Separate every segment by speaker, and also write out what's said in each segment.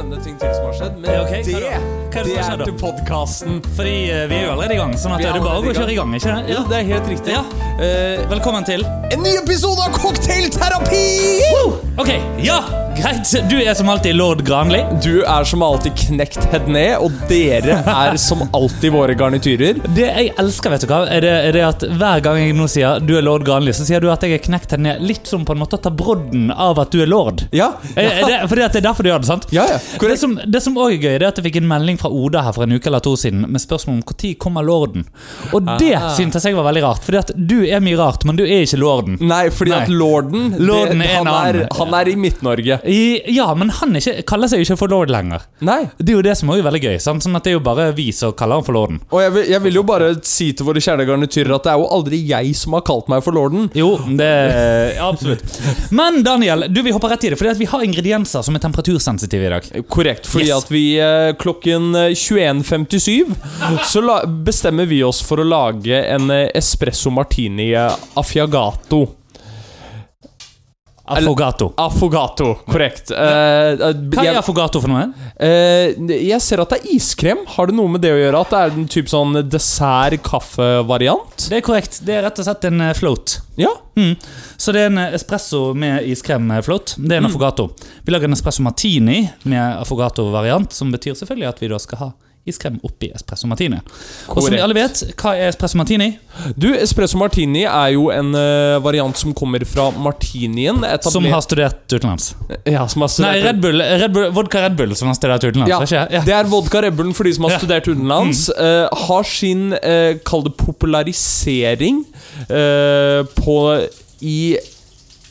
Speaker 1: andre ting til som har skjedd, men
Speaker 2: Ja, ok.
Speaker 1: det,
Speaker 2: Hva da? Hva er det som har skjedd da?
Speaker 1: til podkasten.
Speaker 2: Fordi eh, vi er jo allerede i gang, sånn at
Speaker 1: Vi er
Speaker 2: det er bare å gå og
Speaker 1: allerede
Speaker 2: kjøre
Speaker 1: i
Speaker 2: i gang, ikke det?
Speaker 1: Jo, det er helt riktig.
Speaker 2: Ja.
Speaker 1: Eh,
Speaker 2: Velkommen til.
Speaker 1: en ny episode av Cocktailterapi!
Speaker 2: Ok, ja, greit. Du er som alltid lord Granli.
Speaker 1: Du er som alltid knekt Hedné, og dere er som alltid våre garnityrer.
Speaker 2: Det jeg elsker, vet du hva, er det, er det at hver gang jeg nå sier du er lord Granli, så sier du at jeg er knekt henne litt som på en måte å ta brodden av at du er lord.
Speaker 1: Ja.
Speaker 2: Er- er det, fordi at det er derfor du gjør det, sant?
Speaker 1: Ja, ja,
Speaker 2: Det
Speaker 1: korrekt.
Speaker 2: som, det som også er gøy, det er at jeg fikk en melding fra Oda her for en uke eller to siden med spørsmål om når kommer lorden. Og det
Speaker 1: Ah.
Speaker 2: syntes jeg var veldig rart, fordi at du er mye rart, men du er ikke lorden.
Speaker 1: Nei, fordi
Speaker 2: Nei.
Speaker 1: at lorden,
Speaker 2: Lorden er
Speaker 1: han,
Speaker 2: en
Speaker 1: er,
Speaker 2: annen.
Speaker 1: han er i Midt-Norge.
Speaker 2: I, ja, men han er ikke, kaller seg jo ikke for lord lenger.
Speaker 1: Nei.
Speaker 2: Det er jo det som også er veldig gøy. Sant? Sånn at det er jo bare vi som kaller han for lorden.
Speaker 1: Og jeg vil, jeg vil jo bare si til våre kjære garnityrer at det er jo aldri jeg som har kalt meg for lorden.
Speaker 2: Jo, det ja, Absolutt. Men Daniel, du, vi hopper rett i det, fordi at vi har ingredienser som er temperatursensitive i dag.
Speaker 1: Korrekt, fordi
Speaker 2: Yes.
Speaker 1: at vi eh, klokken eh, 21.57 så la, bestemmer vi oss for å lage en eh, espresso martini eh, affiagato.
Speaker 2: Affogato.
Speaker 1: Affogato, korrekt. Eh, eh,
Speaker 2: Hva er
Speaker 1: jeg,
Speaker 2: affogato for noe?
Speaker 1: eh, jeg ser at det er iskrem. Har det noe med det å gjøre? At det er en type sånn dessert-kaffe-variant?
Speaker 2: Det er korrekt. Det er rett og slett en eh, float.
Speaker 1: Ja.
Speaker 2: Mm. Så det er en espresso med iskrem eh, float. Det er en affogato. Vi lager en espresso martini med affogato-variant, som betyr selvfølgelig at vi da skal ha iskrem oppi espresso martini. Og som vi
Speaker 1: Korrekt.
Speaker 2: alle vet, hva er espresso martini?
Speaker 1: Du, espresso martini er jo en eh, variant som kommer fra martinien. etabler-
Speaker 2: Som har studert utenlands.
Speaker 1: ja, som har
Speaker 2: Nei, Red Bull, Red Bull, vodka Red Bull som har studert utenlands.
Speaker 1: Ja,
Speaker 2: er ikke jeg?
Speaker 1: Det er vodka Red Bullen for de som har
Speaker 2: Ja.
Speaker 1: studert utenlands. eh, har sin, eh, kall det popularisering, eh, på i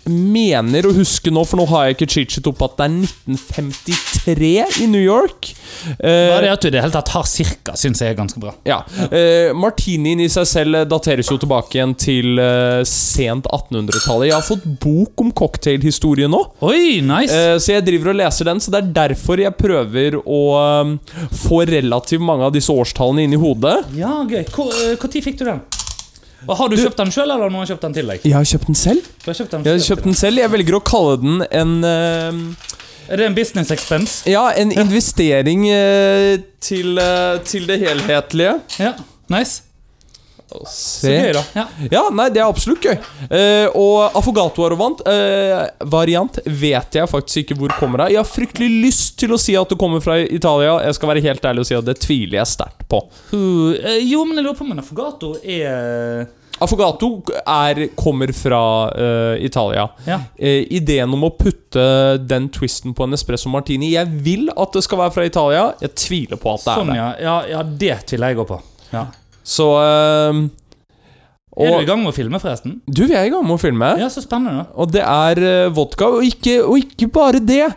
Speaker 1: Mener å huske nå, for nå har jeg ikke cheat-shit opp, at det er 1953 i New York. Eh,
Speaker 2: Ja. Bare det at du i det hele tatt har cirka, syns jeg er ganske bra.
Speaker 1: ja. Eh, martinien i seg selv eh, dateres jo tilbake igjen til eh, sent 1800-tallet. Jeg har fått bok om cocktailhistorie nå.
Speaker 2: Oi, nice!
Speaker 1: Eh, Så jeg driver og leser den, så det er derfor jeg prøver å um, få relativt mange av disse årstallene inn i hodet.
Speaker 2: ja, gøy. Hvor, eh, Hvor tid fikk du den? Og Har du, kjøpt den sjøl, eller har noen kjøpt den til deg?
Speaker 1: Jeg har kjøpt den selv.
Speaker 2: Du har kjøpt den
Speaker 1: Jeg har
Speaker 2: selv.
Speaker 1: kjøpt den selv. Jeg velger å kalle den en um,
Speaker 2: Er det en business expense?
Speaker 1: Ja, en investering eh, til, eh, til det helhetlige.
Speaker 2: Ja, nice.
Speaker 1: Se.
Speaker 2: Gøy, da. Ja.
Speaker 1: Ja, nei, det er absolutt gøy. Eh, og affogato-variant variant vet jeg faktisk ikke hvor kommer av. Jeg har fryktelig lyst til å si at det kommer fra Italia. Jeg skal være helt ærlig og si at det tviler jeg sterkt på.
Speaker 2: Uh, eh, jo, men jeg lurer på om en affogato er eh,
Speaker 1: Affogato er, kommer fra eh, Italia.
Speaker 2: Ja.
Speaker 1: Eh, ideen om å putte den twisten på en espresso martini Jeg vil at det skal være fra Italia. Jeg tviler på at det er
Speaker 2: Sånn,
Speaker 1: det.
Speaker 2: ja. ja. Ja, det tviler jeg òg på. Ja.
Speaker 1: Så eh,
Speaker 2: Er du i
Speaker 1: Og
Speaker 2: gang med å filme, forresten?
Speaker 1: du, vi er i gang med å filme.
Speaker 2: Ja, så spennende. da.
Speaker 1: Og det er eh, vodka. Og ikke, og ikke bare det.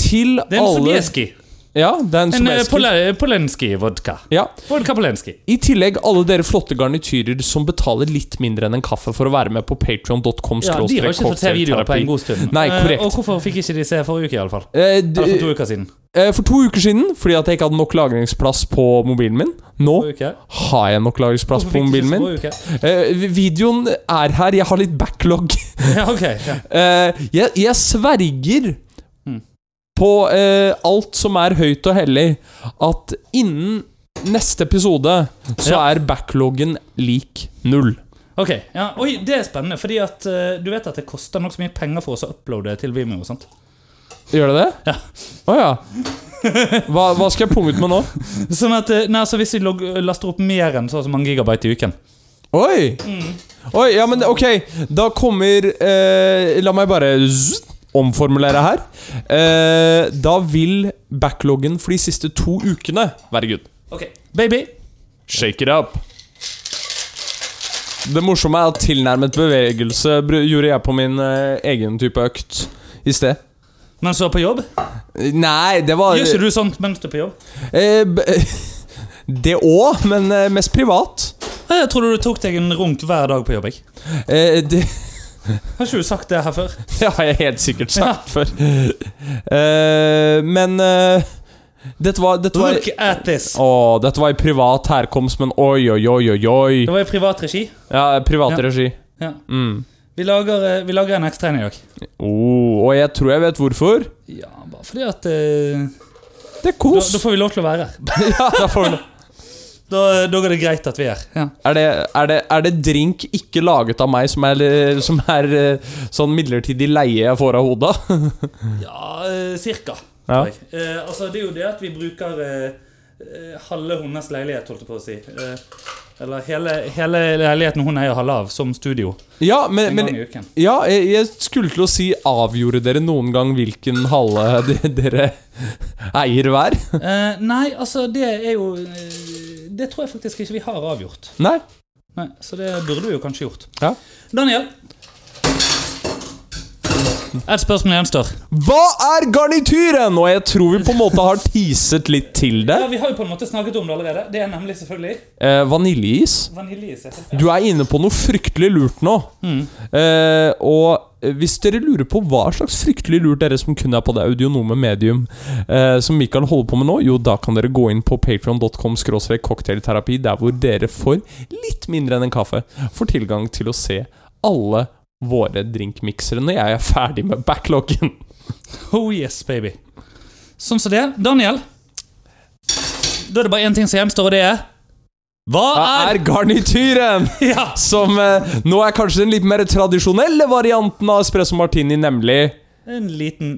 Speaker 1: Til
Speaker 2: Det er en
Speaker 1: alle
Speaker 2: Sobieski.
Speaker 1: Ja, det er en
Speaker 2: En eh,
Speaker 1: sobieski.
Speaker 2: Pole- Polenski-vodka.
Speaker 1: Ja.
Speaker 2: Vodka Polenski.
Speaker 1: I tillegg alle dere flotte garnityrer som betaler litt mindre enn en kaffe for å være med på patreon.com.
Speaker 2: Ja, de har ikke fått se videoer på en god stund.
Speaker 1: Nei,
Speaker 2: Eh,
Speaker 1: korrekt.
Speaker 2: Og hvorfor fikk ikke de se forrige uke, iallfall?
Speaker 1: Eh,
Speaker 2: Eller for
Speaker 1: d-
Speaker 2: to uker siden.
Speaker 1: eh, for to uker siden, fordi at jeg ikke hadde nok lagringsplass på mobilen min. Nå
Speaker 2: Forrige uke.
Speaker 1: har jeg nok lagringsplass
Speaker 2: Hvorfor
Speaker 1: på
Speaker 2: fikk de ikke
Speaker 1: mobilen
Speaker 2: se
Speaker 1: min.
Speaker 2: forrige uke?
Speaker 1: Eh, vi- videoen er her. Jeg har litt backlog.
Speaker 2: Ja, ok. Ja.
Speaker 1: Eh, jeg, jeg sverger
Speaker 2: Mm.
Speaker 1: på eh, alt som er høyt og hellig, at innen neste episode så
Speaker 2: Ja.
Speaker 1: er backloggen lik null.
Speaker 2: Ok, ja. Oi, det er spennende, fordi at eh, du vet at det koster nokså mye penger for oss å uploade til Vimeo. sant?
Speaker 1: Gjør det det?
Speaker 2: Ja.
Speaker 1: Å ja. Hva, hva skal jeg punge ut med nå?
Speaker 2: Sånn at, eh, nei, så Hvis vi log laster opp mer enn så og så mange gigabyte i uken
Speaker 1: Oi! Oi, ja, men ok. Da kommer eh, La meg bare zzz, omformulere her. Eh, da vil backloggen for de siste to ukene være good.
Speaker 2: Ok, Baby,
Speaker 1: Shake it up. Det morsomme er at tilnærmet bevegelse br- gjorde jeg på min eh, egen type økt i sted.
Speaker 2: mens du er på jobb?
Speaker 1: Nei, det var
Speaker 2: Gjør ikke du sånt mens du er på jobb?
Speaker 1: eh, b- Det òg, men eh, mest privat.
Speaker 2: Jeg trodde du tok deg en runk hver dag på jobb. jeg.
Speaker 1: Eh, det,
Speaker 2: Har ikke du sagt det her før?
Speaker 1: Det har jeg helt sikkert sagt før. Eh, men eh, dette var Dette var,
Speaker 2: Look at this.
Speaker 1: Åh, dette var i privat herkomst, men oi, oi, oi, oi. oi.
Speaker 2: Det var i privat regi.
Speaker 1: Ja, privat
Speaker 2: Ja.
Speaker 1: regi.
Speaker 2: Ja.
Speaker 1: Mm.
Speaker 2: Vi lager, eh, vi lager en ekstra en i dag.
Speaker 1: Oh, og jeg tror jeg vet hvorfor.
Speaker 2: Ja, bare fordi at eh,
Speaker 1: Det er
Speaker 2: Da,
Speaker 1: kos.
Speaker 2: da får vi lov til å være her.
Speaker 1: ja, da får vi noe.
Speaker 2: Da, da går det greit at vi er her. Ja.
Speaker 1: Er det, er, det, er det drink ikke laget av meg som er, som er eh, sånn midlertidig leie jeg får av hodet?
Speaker 2: Ja, eh, cirka.
Speaker 1: Ja.
Speaker 2: tror jeg. Eh, altså, det er jo det at vi bruker eh, eh, halve hennes leilighet, holdt jeg på å si. Eh, eller hele, hele leiligheten hun eier halve av, som studio.
Speaker 1: Ja, men,
Speaker 2: En
Speaker 1: men
Speaker 2: gang i uken.
Speaker 1: ja, jeg, jeg skulle til å si Avgjorde dere noen gang hvilken halve de- dere eier hver?
Speaker 2: Eh, nei, altså, det er jo eh, Det tror jeg faktisk ikke vi har avgjort.
Speaker 1: Nei?
Speaker 2: Nei, så det burde vi jo kanskje gjort.
Speaker 1: Ja.
Speaker 2: Daniel. Et spørsmål gjenstår.
Speaker 1: Hva er garnityren? Og jeg tror vi på en måte har teaset litt til det.
Speaker 2: Ja, vi har jo på en måte snakket om det allerede. Det er nemlig selvfølgelig
Speaker 1: Eh, vaniljeis.
Speaker 2: vaniljeis. jeg tenker.
Speaker 1: Du er inne på noe fryktelig lurt nå.
Speaker 2: Mm.
Speaker 1: Eh, og hvis dere lurer på hva slags fryktelig lurt dere som kun er på det audionome medium eh, som Mikael holder på med nå, jo, da kan dere gå inn på patreon.com cocktailterapi, der hvor dere får litt mindre enn en kaffe, får tilgang til å se alle våre drinkmiksere når jeg er ferdig med backloggen.
Speaker 2: Oh yes, baby. Sånn som det. Daniel. Da er det bare én ting som gjenstår, og det er Hva
Speaker 1: Hva er
Speaker 2: er
Speaker 1: garnityren?
Speaker 2: Ja!
Speaker 1: Som eh, nå er kanskje den litt mer tradisjonelle varianten av espresso martini, nemlig
Speaker 2: En liten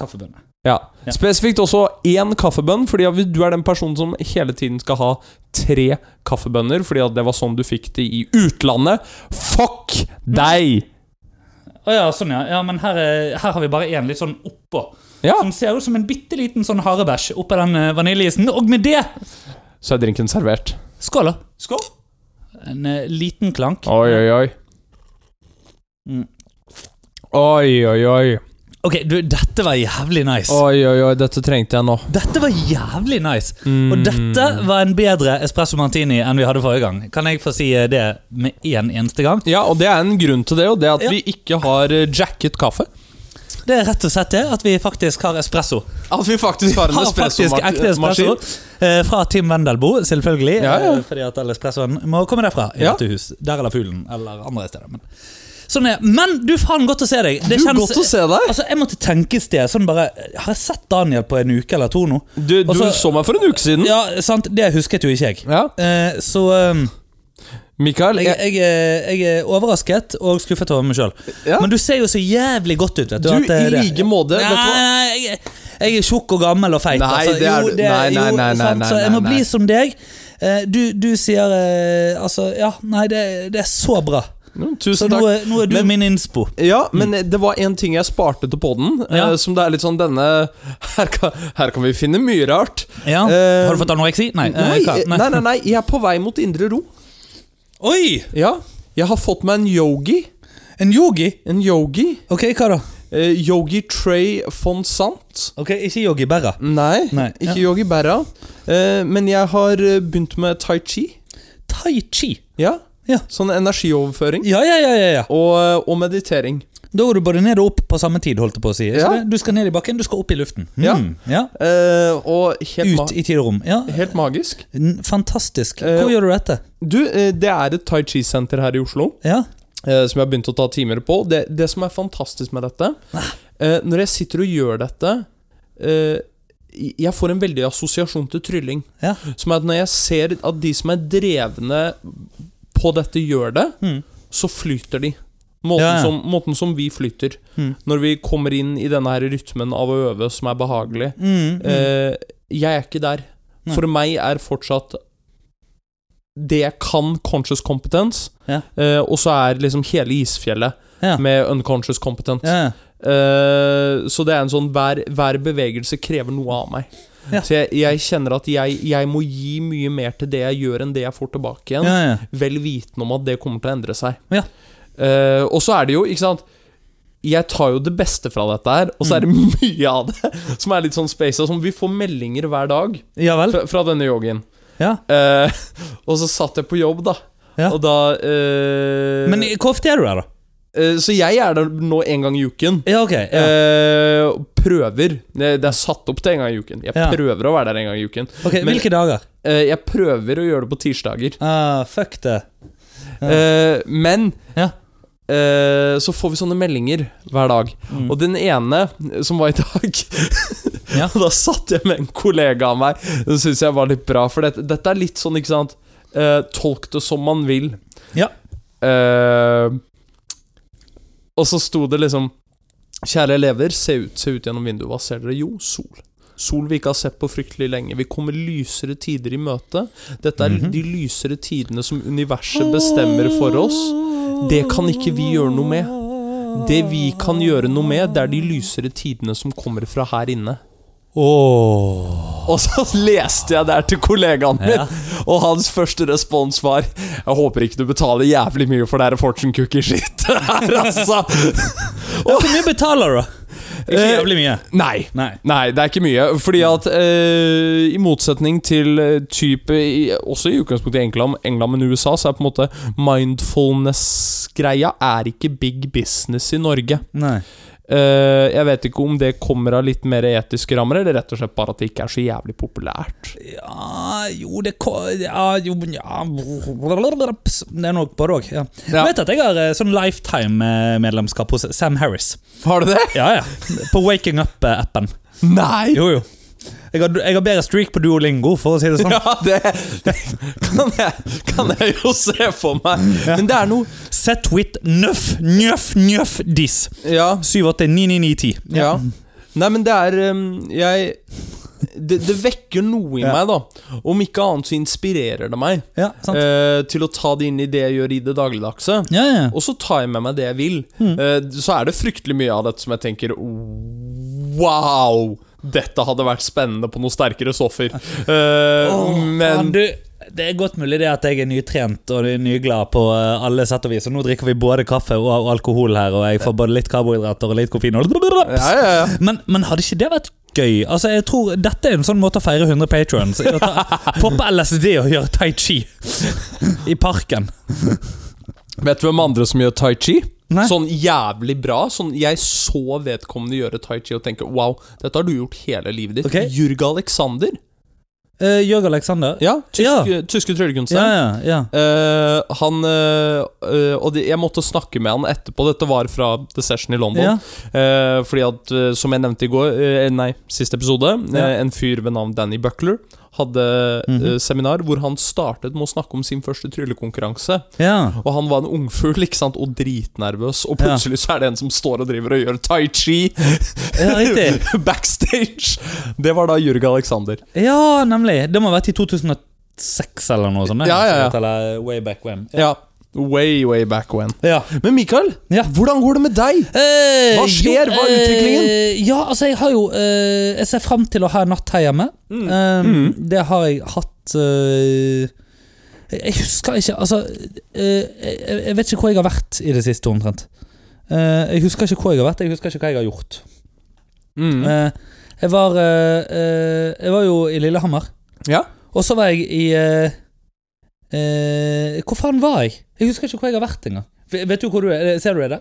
Speaker 2: kaffebønne.
Speaker 1: Ja.
Speaker 2: Ja.
Speaker 1: Spesifikt også én kaffebønn, fordi at du er den personen som hele tiden skal ha tre kaffebønner, fordi at det var sånn du fikk det i utlandet. Fuck deg!
Speaker 2: Å ja, sånn, ja. ja men her, er, her har vi bare én litt sånn oppå.
Speaker 1: Ja,
Speaker 2: Som ser ut som en bitte liten sånn harebæsj oppå den eh, vaniljeisen. Og med det
Speaker 1: så er drinken servert.
Speaker 2: Skål, da.
Speaker 1: Skål!
Speaker 2: En eh, liten klank.
Speaker 1: Oi, oi, oi.
Speaker 2: Mm.
Speaker 1: Oi, oi, oi.
Speaker 2: Ok, du, dette var jævlig nice.
Speaker 1: Oi, oi, oi, dette trengte jeg nå.
Speaker 2: Dette var jævlig nice.
Speaker 1: Mm.
Speaker 2: Og dette var en bedre espresso martini enn vi hadde forrige gang. Kan jeg få si eh, det med én eneste gang?
Speaker 1: Ja, og det er en grunn til det, og det er at
Speaker 2: Ja.
Speaker 1: vi ikke har eh, jacket kaffe.
Speaker 2: Det er rett og slett det at vi faktisk har espresso.
Speaker 1: At vi faktisk har
Speaker 2: Har faktisk ekte espresso eh, Fra Tim Wendelbo, selvfølgelig.
Speaker 1: Ja, ja.
Speaker 2: eh, Fordi at all espressoen må komme derfra. I
Speaker 1: Ja.
Speaker 2: dette hus. Der eller Fuglen, eller andre steder. Men, sånn er. men du, faen, godt å se deg. Det
Speaker 1: Du, godt å se deg.
Speaker 2: Altså, Jeg måtte tenke et sted. Sånn bare, har jeg sett Daniel på en uke eller to nå?
Speaker 1: Du, du
Speaker 2: Altså-
Speaker 1: så meg for en uke siden.
Speaker 2: Ja, sant, Det husket jo ikke jeg.
Speaker 1: Ja.
Speaker 2: Eh, så eh,
Speaker 1: Mikael,
Speaker 2: jeg,
Speaker 1: jeg,
Speaker 2: jeg, er- jeg er overrasket og skuffet over meg sjøl.
Speaker 1: Ja.
Speaker 2: Men du ser jo så jævlig godt ut. vet du
Speaker 1: Du,
Speaker 2: at det er
Speaker 1: i
Speaker 2: det.
Speaker 1: like måte, vet du
Speaker 2: Nei,
Speaker 1: hva?
Speaker 2: nei, jeg, jeg er tjukk og gammel og feit. altså.
Speaker 1: Nei, det er du- nei, nei, nei,
Speaker 2: jo,
Speaker 1: nei,
Speaker 2: sant,
Speaker 1: nei,
Speaker 2: Så jeg
Speaker 1: nei,
Speaker 2: må
Speaker 1: nei.
Speaker 2: bli som deg. Eh, Du, du sier eh, Altså, ja. Nei, det, det er så bra.
Speaker 1: Mm,
Speaker 2: Så
Speaker 1: tusen
Speaker 2: nå,
Speaker 1: takk.
Speaker 2: er- nå er du min innspo.
Speaker 1: Ja, men det var en ting jeg sparte til podden
Speaker 2: Mm. Ja.
Speaker 1: eh, Som det er litt sånn denne Her kan, her kan vi finne mye rart
Speaker 2: Ja.
Speaker 1: Eh,
Speaker 2: Har du fått anoreksi? Nei. eh,
Speaker 1: Nei,
Speaker 2: hva?
Speaker 1: eh, nei, nei, nei, jeg er på vei mot indre ro
Speaker 2: Oi!
Speaker 1: Ja, jeg har fått meg en yogi
Speaker 2: En yogi?
Speaker 1: En yogi
Speaker 2: Ok, hva da?
Speaker 1: eh, Yogi Trey Fonsant
Speaker 2: Ok, Ikke yogi Berra.
Speaker 1: Nei,
Speaker 2: Nei,
Speaker 1: ikke
Speaker 2: ja.
Speaker 1: yogi Berra eh, Men jeg har eh, begynt med tai chi
Speaker 2: Tai chi.
Speaker 1: Ja,
Speaker 2: Ja.
Speaker 1: sånn energioverføring
Speaker 2: Ja, ja, ja, ja, ja.
Speaker 1: og, og meditering
Speaker 2: Da går du både ned og opp på samme tid, holdt jeg på å si. Ikke
Speaker 1: Ja.
Speaker 2: det? Du skal ned i bakken, du skal opp i luften. Hmm, ja.
Speaker 1: eh, Og helt,
Speaker 2: Ut
Speaker 1: ma
Speaker 2: i tid og rom. Ja.
Speaker 1: helt magisk
Speaker 2: N- Fantastisk.
Speaker 1: Eh,
Speaker 2: Hvor gjør du dette?
Speaker 1: Du, eh, det er et tai chi senter her i Oslo
Speaker 2: Ja.
Speaker 1: eh, som jeg har begynt å ta timer på. Det, det som er fantastisk med dette eh, Når jeg sitter og gjør dette eh, Jeg får en veldig assosiasjon til trylling.
Speaker 2: Ja.
Speaker 1: Som er at når jeg ser at de som er drevne på dette, gjør det,
Speaker 2: Mm.
Speaker 1: så flyter de. Måten,
Speaker 2: Ja, ja.
Speaker 1: Som, måten som vi flyter.
Speaker 2: Mm.
Speaker 1: Når vi kommer inn i denne her rytmen av å øve som er behagelig.
Speaker 2: Mm, mm.
Speaker 1: Eh, jeg er ikke der.
Speaker 2: Nei.
Speaker 1: For meg er fortsatt det jeg kan, conscious competence,
Speaker 2: Ja.
Speaker 1: eh, og så er liksom hele isfjellet
Speaker 2: Ja.
Speaker 1: med unconscious competent.
Speaker 2: ja.
Speaker 1: Eh, så det er en sånn hver, hver bevegelse krever noe av meg.
Speaker 2: Ja.
Speaker 1: Så jeg, jeg kjenner at jeg, jeg må gi mye mer til det jeg gjør, enn det jeg får tilbake igjen.
Speaker 2: Ja, ja.
Speaker 1: Vel vitende om at det kommer til å endre seg.
Speaker 2: Ja.
Speaker 1: Eh, og så er det jo, ikke sant Jeg tar jo det beste fra dette her, og så er det
Speaker 2: Mm.
Speaker 1: mye av det som er litt sånn space. Som vi får meldinger hver dag
Speaker 2: ja vel.
Speaker 1: fra, fra denne yogien.
Speaker 2: Ja.
Speaker 1: Eh, og så satt jeg på jobb, da.
Speaker 2: Ja.
Speaker 1: Og da eh,
Speaker 2: Men i- hvor ofte er du der, da?
Speaker 1: eh, Så jeg er der nå en gang i uken.
Speaker 2: Ja, ok. Ja.
Speaker 1: Eh, og prøver. Det, det er satt opp til en gang i uken. Jeg
Speaker 2: Ja.
Speaker 1: prøver å være der en gang i uken.
Speaker 2: Ok,
Speaker 1: men-
Speaker 2: Hvilke dager?
Speaker 1: Eh, jeg prøver å gjøre det på tirsdager.
Speaker 2: Ah, fuck det. Ja.
Speaker 1: Eh, men
Speaker 2: Ja. Mm.
Speaker 1: eh, så får vi sånne meldinger hver dag. Og den ene, eh, som var i dag
Speaker 2: Ja.
Speaker 1: Og da satt jeg med en kollega av meg. Det syns jeg var litt bra, for dette, dette er litt sånn, ikke sant eh, Tolk det som man vil.
Speaker 2: Ja.
Speaker 1: Eh, og så sto det liksom Kjære elever, se ut, se ut gjennom vinduet. Hva ser dere? Jo, sol. Sol vi ikke har sett på fryktelig lenge. Vi kommer lysere tider i møte. Dette er
Speaker 2: Mhm.
Speaker 1: de lysere tidene som universet bestemmer for oss. Det kan ikke vi gjøre noe med. Det vi kan gjøre noe med, det er de lysere tidene som kommer fra her inne.
Speaker 2: Åh.
Speaker 1: Og så leste jeg det her til kollegaen min,
Speaker 2: Ja.
Speaker 1: og hans første respons var Jeg håper ikke du betaler jævlig mye for det her fortune cookie-shit her, altså.
Speaker 2: Hvor mye betaler du? Ikke
Speaker 1: Eh,
Speaker 2: jævlig mye.
Speaker 1: Nei.
Speaker 2: Nei.
Speaker 1: Nei, det er ikke mye. Fordi at eh, i motsetning til eh, type i, Også i utgangspunktet i England, England, men USA, så er på en måte mindfulness-greia er ikke big business i Norge.
Speaker 2: Nei.
Speaker 1: Eh, jeg vet ikke om det kommer av litt mer etiske rammer, eller rett og slett bare at det ikke er så jævlig populært.
Speaker 2: Ja Jo, det ko- Ja, jo, men ja Det er nok både òg. Ja.
Speaker 1: Ja.
Speaker 2: Jeg Vet at jeg har eh, sånn lifetime-medlemskap hos Sam Harris.
Speaker 1: Har du det?
Speaker 2: Ja, ja. På Waking Up-appen.
Speaker 1: Nei!
Speaker 2: Jo, jo. Jeg har, jeg har bedre streak på Duolingo, for å si det sånn.
Speaker 1: Ja, det, det kan, jeg, kan jeg jo se for meg. Men det er noe
Speaker 2: Set with nøff, nøff, nøff dis.
Speaker 1: Ja.
Speaker 2: 7899910.
Speaker 1: ja. Nei, men det er um, Jeg det, det vekker noe i
Speaker 2: Ja.
Speaker 1: meg, da. Om ikke annet så inspirerer det meg
Speaker 2: Ja, sant.
Speaker 1: eh, til å ta det inn i det jeg gjør i det dagligdagse.
Speaker 2: Ja, ja.
Speaker 1: Og så tar jeg med meg det jeg vil.
Speaker 2: Hmm.
Speaker 1: Eh, så er det fryktelig mye av dette som jeg tenker Wow! Dette hadde vært spennende på noe sterkere stoffer. Eh,
Speaker 2: Men
Speaker 1: men
Speaker 2: du, det er godt mulig det at jeg er nytrent og nyglad på eh, alle sett og vis. Og nå drikker vi både kaffe og og alkohol her, og jeg får både litt karbohydrater og litt koffein. Og
Speaker 1: ja, ja, ja.
Speaker 2: men, men hadde ikke det vært gøy? Altså, jeg tror Dette er en sånn måte å feire 100 patrons. i å ta- Poppe LSD og gjøre tai chi i parken.
Speaker 1: Vet du hvem andre som gjør tai chi?
Speaker 2: Nei.
Speaker 1: Sånn jævlig bra. Sånn, jeg så vedkommende gjøre tai chi og tenke wow, dette har du gjort hele livet ditt.
Speaker 2: Ok.
Speaker 1: Jurg Alexander.
Speaker 2: Uh, Jørg Alexander?
Speaker 1: Ja,
Speaker 2: Ja.
Speaker 1: tysk, Tyske
Speaker 2: ja,
Speaker 1: tryllekunstneren.
Speaker 2: ja. ja.
Speaker 1: Eh, han eh, eh, Og det, jeg måtte snakke med han etterpå. Dette var fra The Session i London.
Speaker 2: Ja.
Speaker 1: Eh, fordi at, eh, som jeg nevnte i går eh, Nei, siste episode
Speaker 2: Ja.
Speaker 1: eh, En fyr ved navn Danny Buckler hadde eh, seminar hvor han startet med å snakke om sin første tryllekonkurranse.
Speaker 2: ja.
Speaker 1: Og han var en ungfugl ikke sant? og dritnervøs, og plutselig så er det en som står og driver og gjør tai chi
Speaker 2: Ja, riktig.
Speaker 1: backstage. Det var da Jørg Alexander.
Speaker 2: Ja, nemlig. Det må ha vært i 2006 eller noe sånt. det.
Speaker 1: Ja, ja, ja.
Speaker 2: Eller way back when.
Speaker 1: Ja. Way, way back when.
Speaker 2: Ja.
Speaker 1: Men Mikael,
Speaker 2: Ja.
Speaker 1: hvordan går det med deg?
Speaker 2: Eh,
Speaker 1: Hva skjer? Hva er
Speaker 2: jo,
Speaker 1: utviklingen?
Speaker 2: eh, ja, altså jeg har jo eh, Jeg ser frem til å ha en natt her hjemme.
Speaker 1: Mm.
Speaker 2: Eh, Det har jeg hatt eh, Jeg husker ikke Altså, eh, jeg, jeg vet ikke hvor jeg har vært i det siste, omtrent. Eh, jeg husker ikke hvor jeg har vært, jeg husker ikke hva jeg har gjort.
Speaker 1: Mm.
Speaker 2: Eh, jeg, var, eh, eh, jeg var jo i Lillehammer,
Speaker 1: Ja.
Speaker 2: og så var jeg i eh, eh, Hvor faen var jeg? Jeg husker ikke hvor jeg har vært engang. Vet du hvor du er? Ser du det?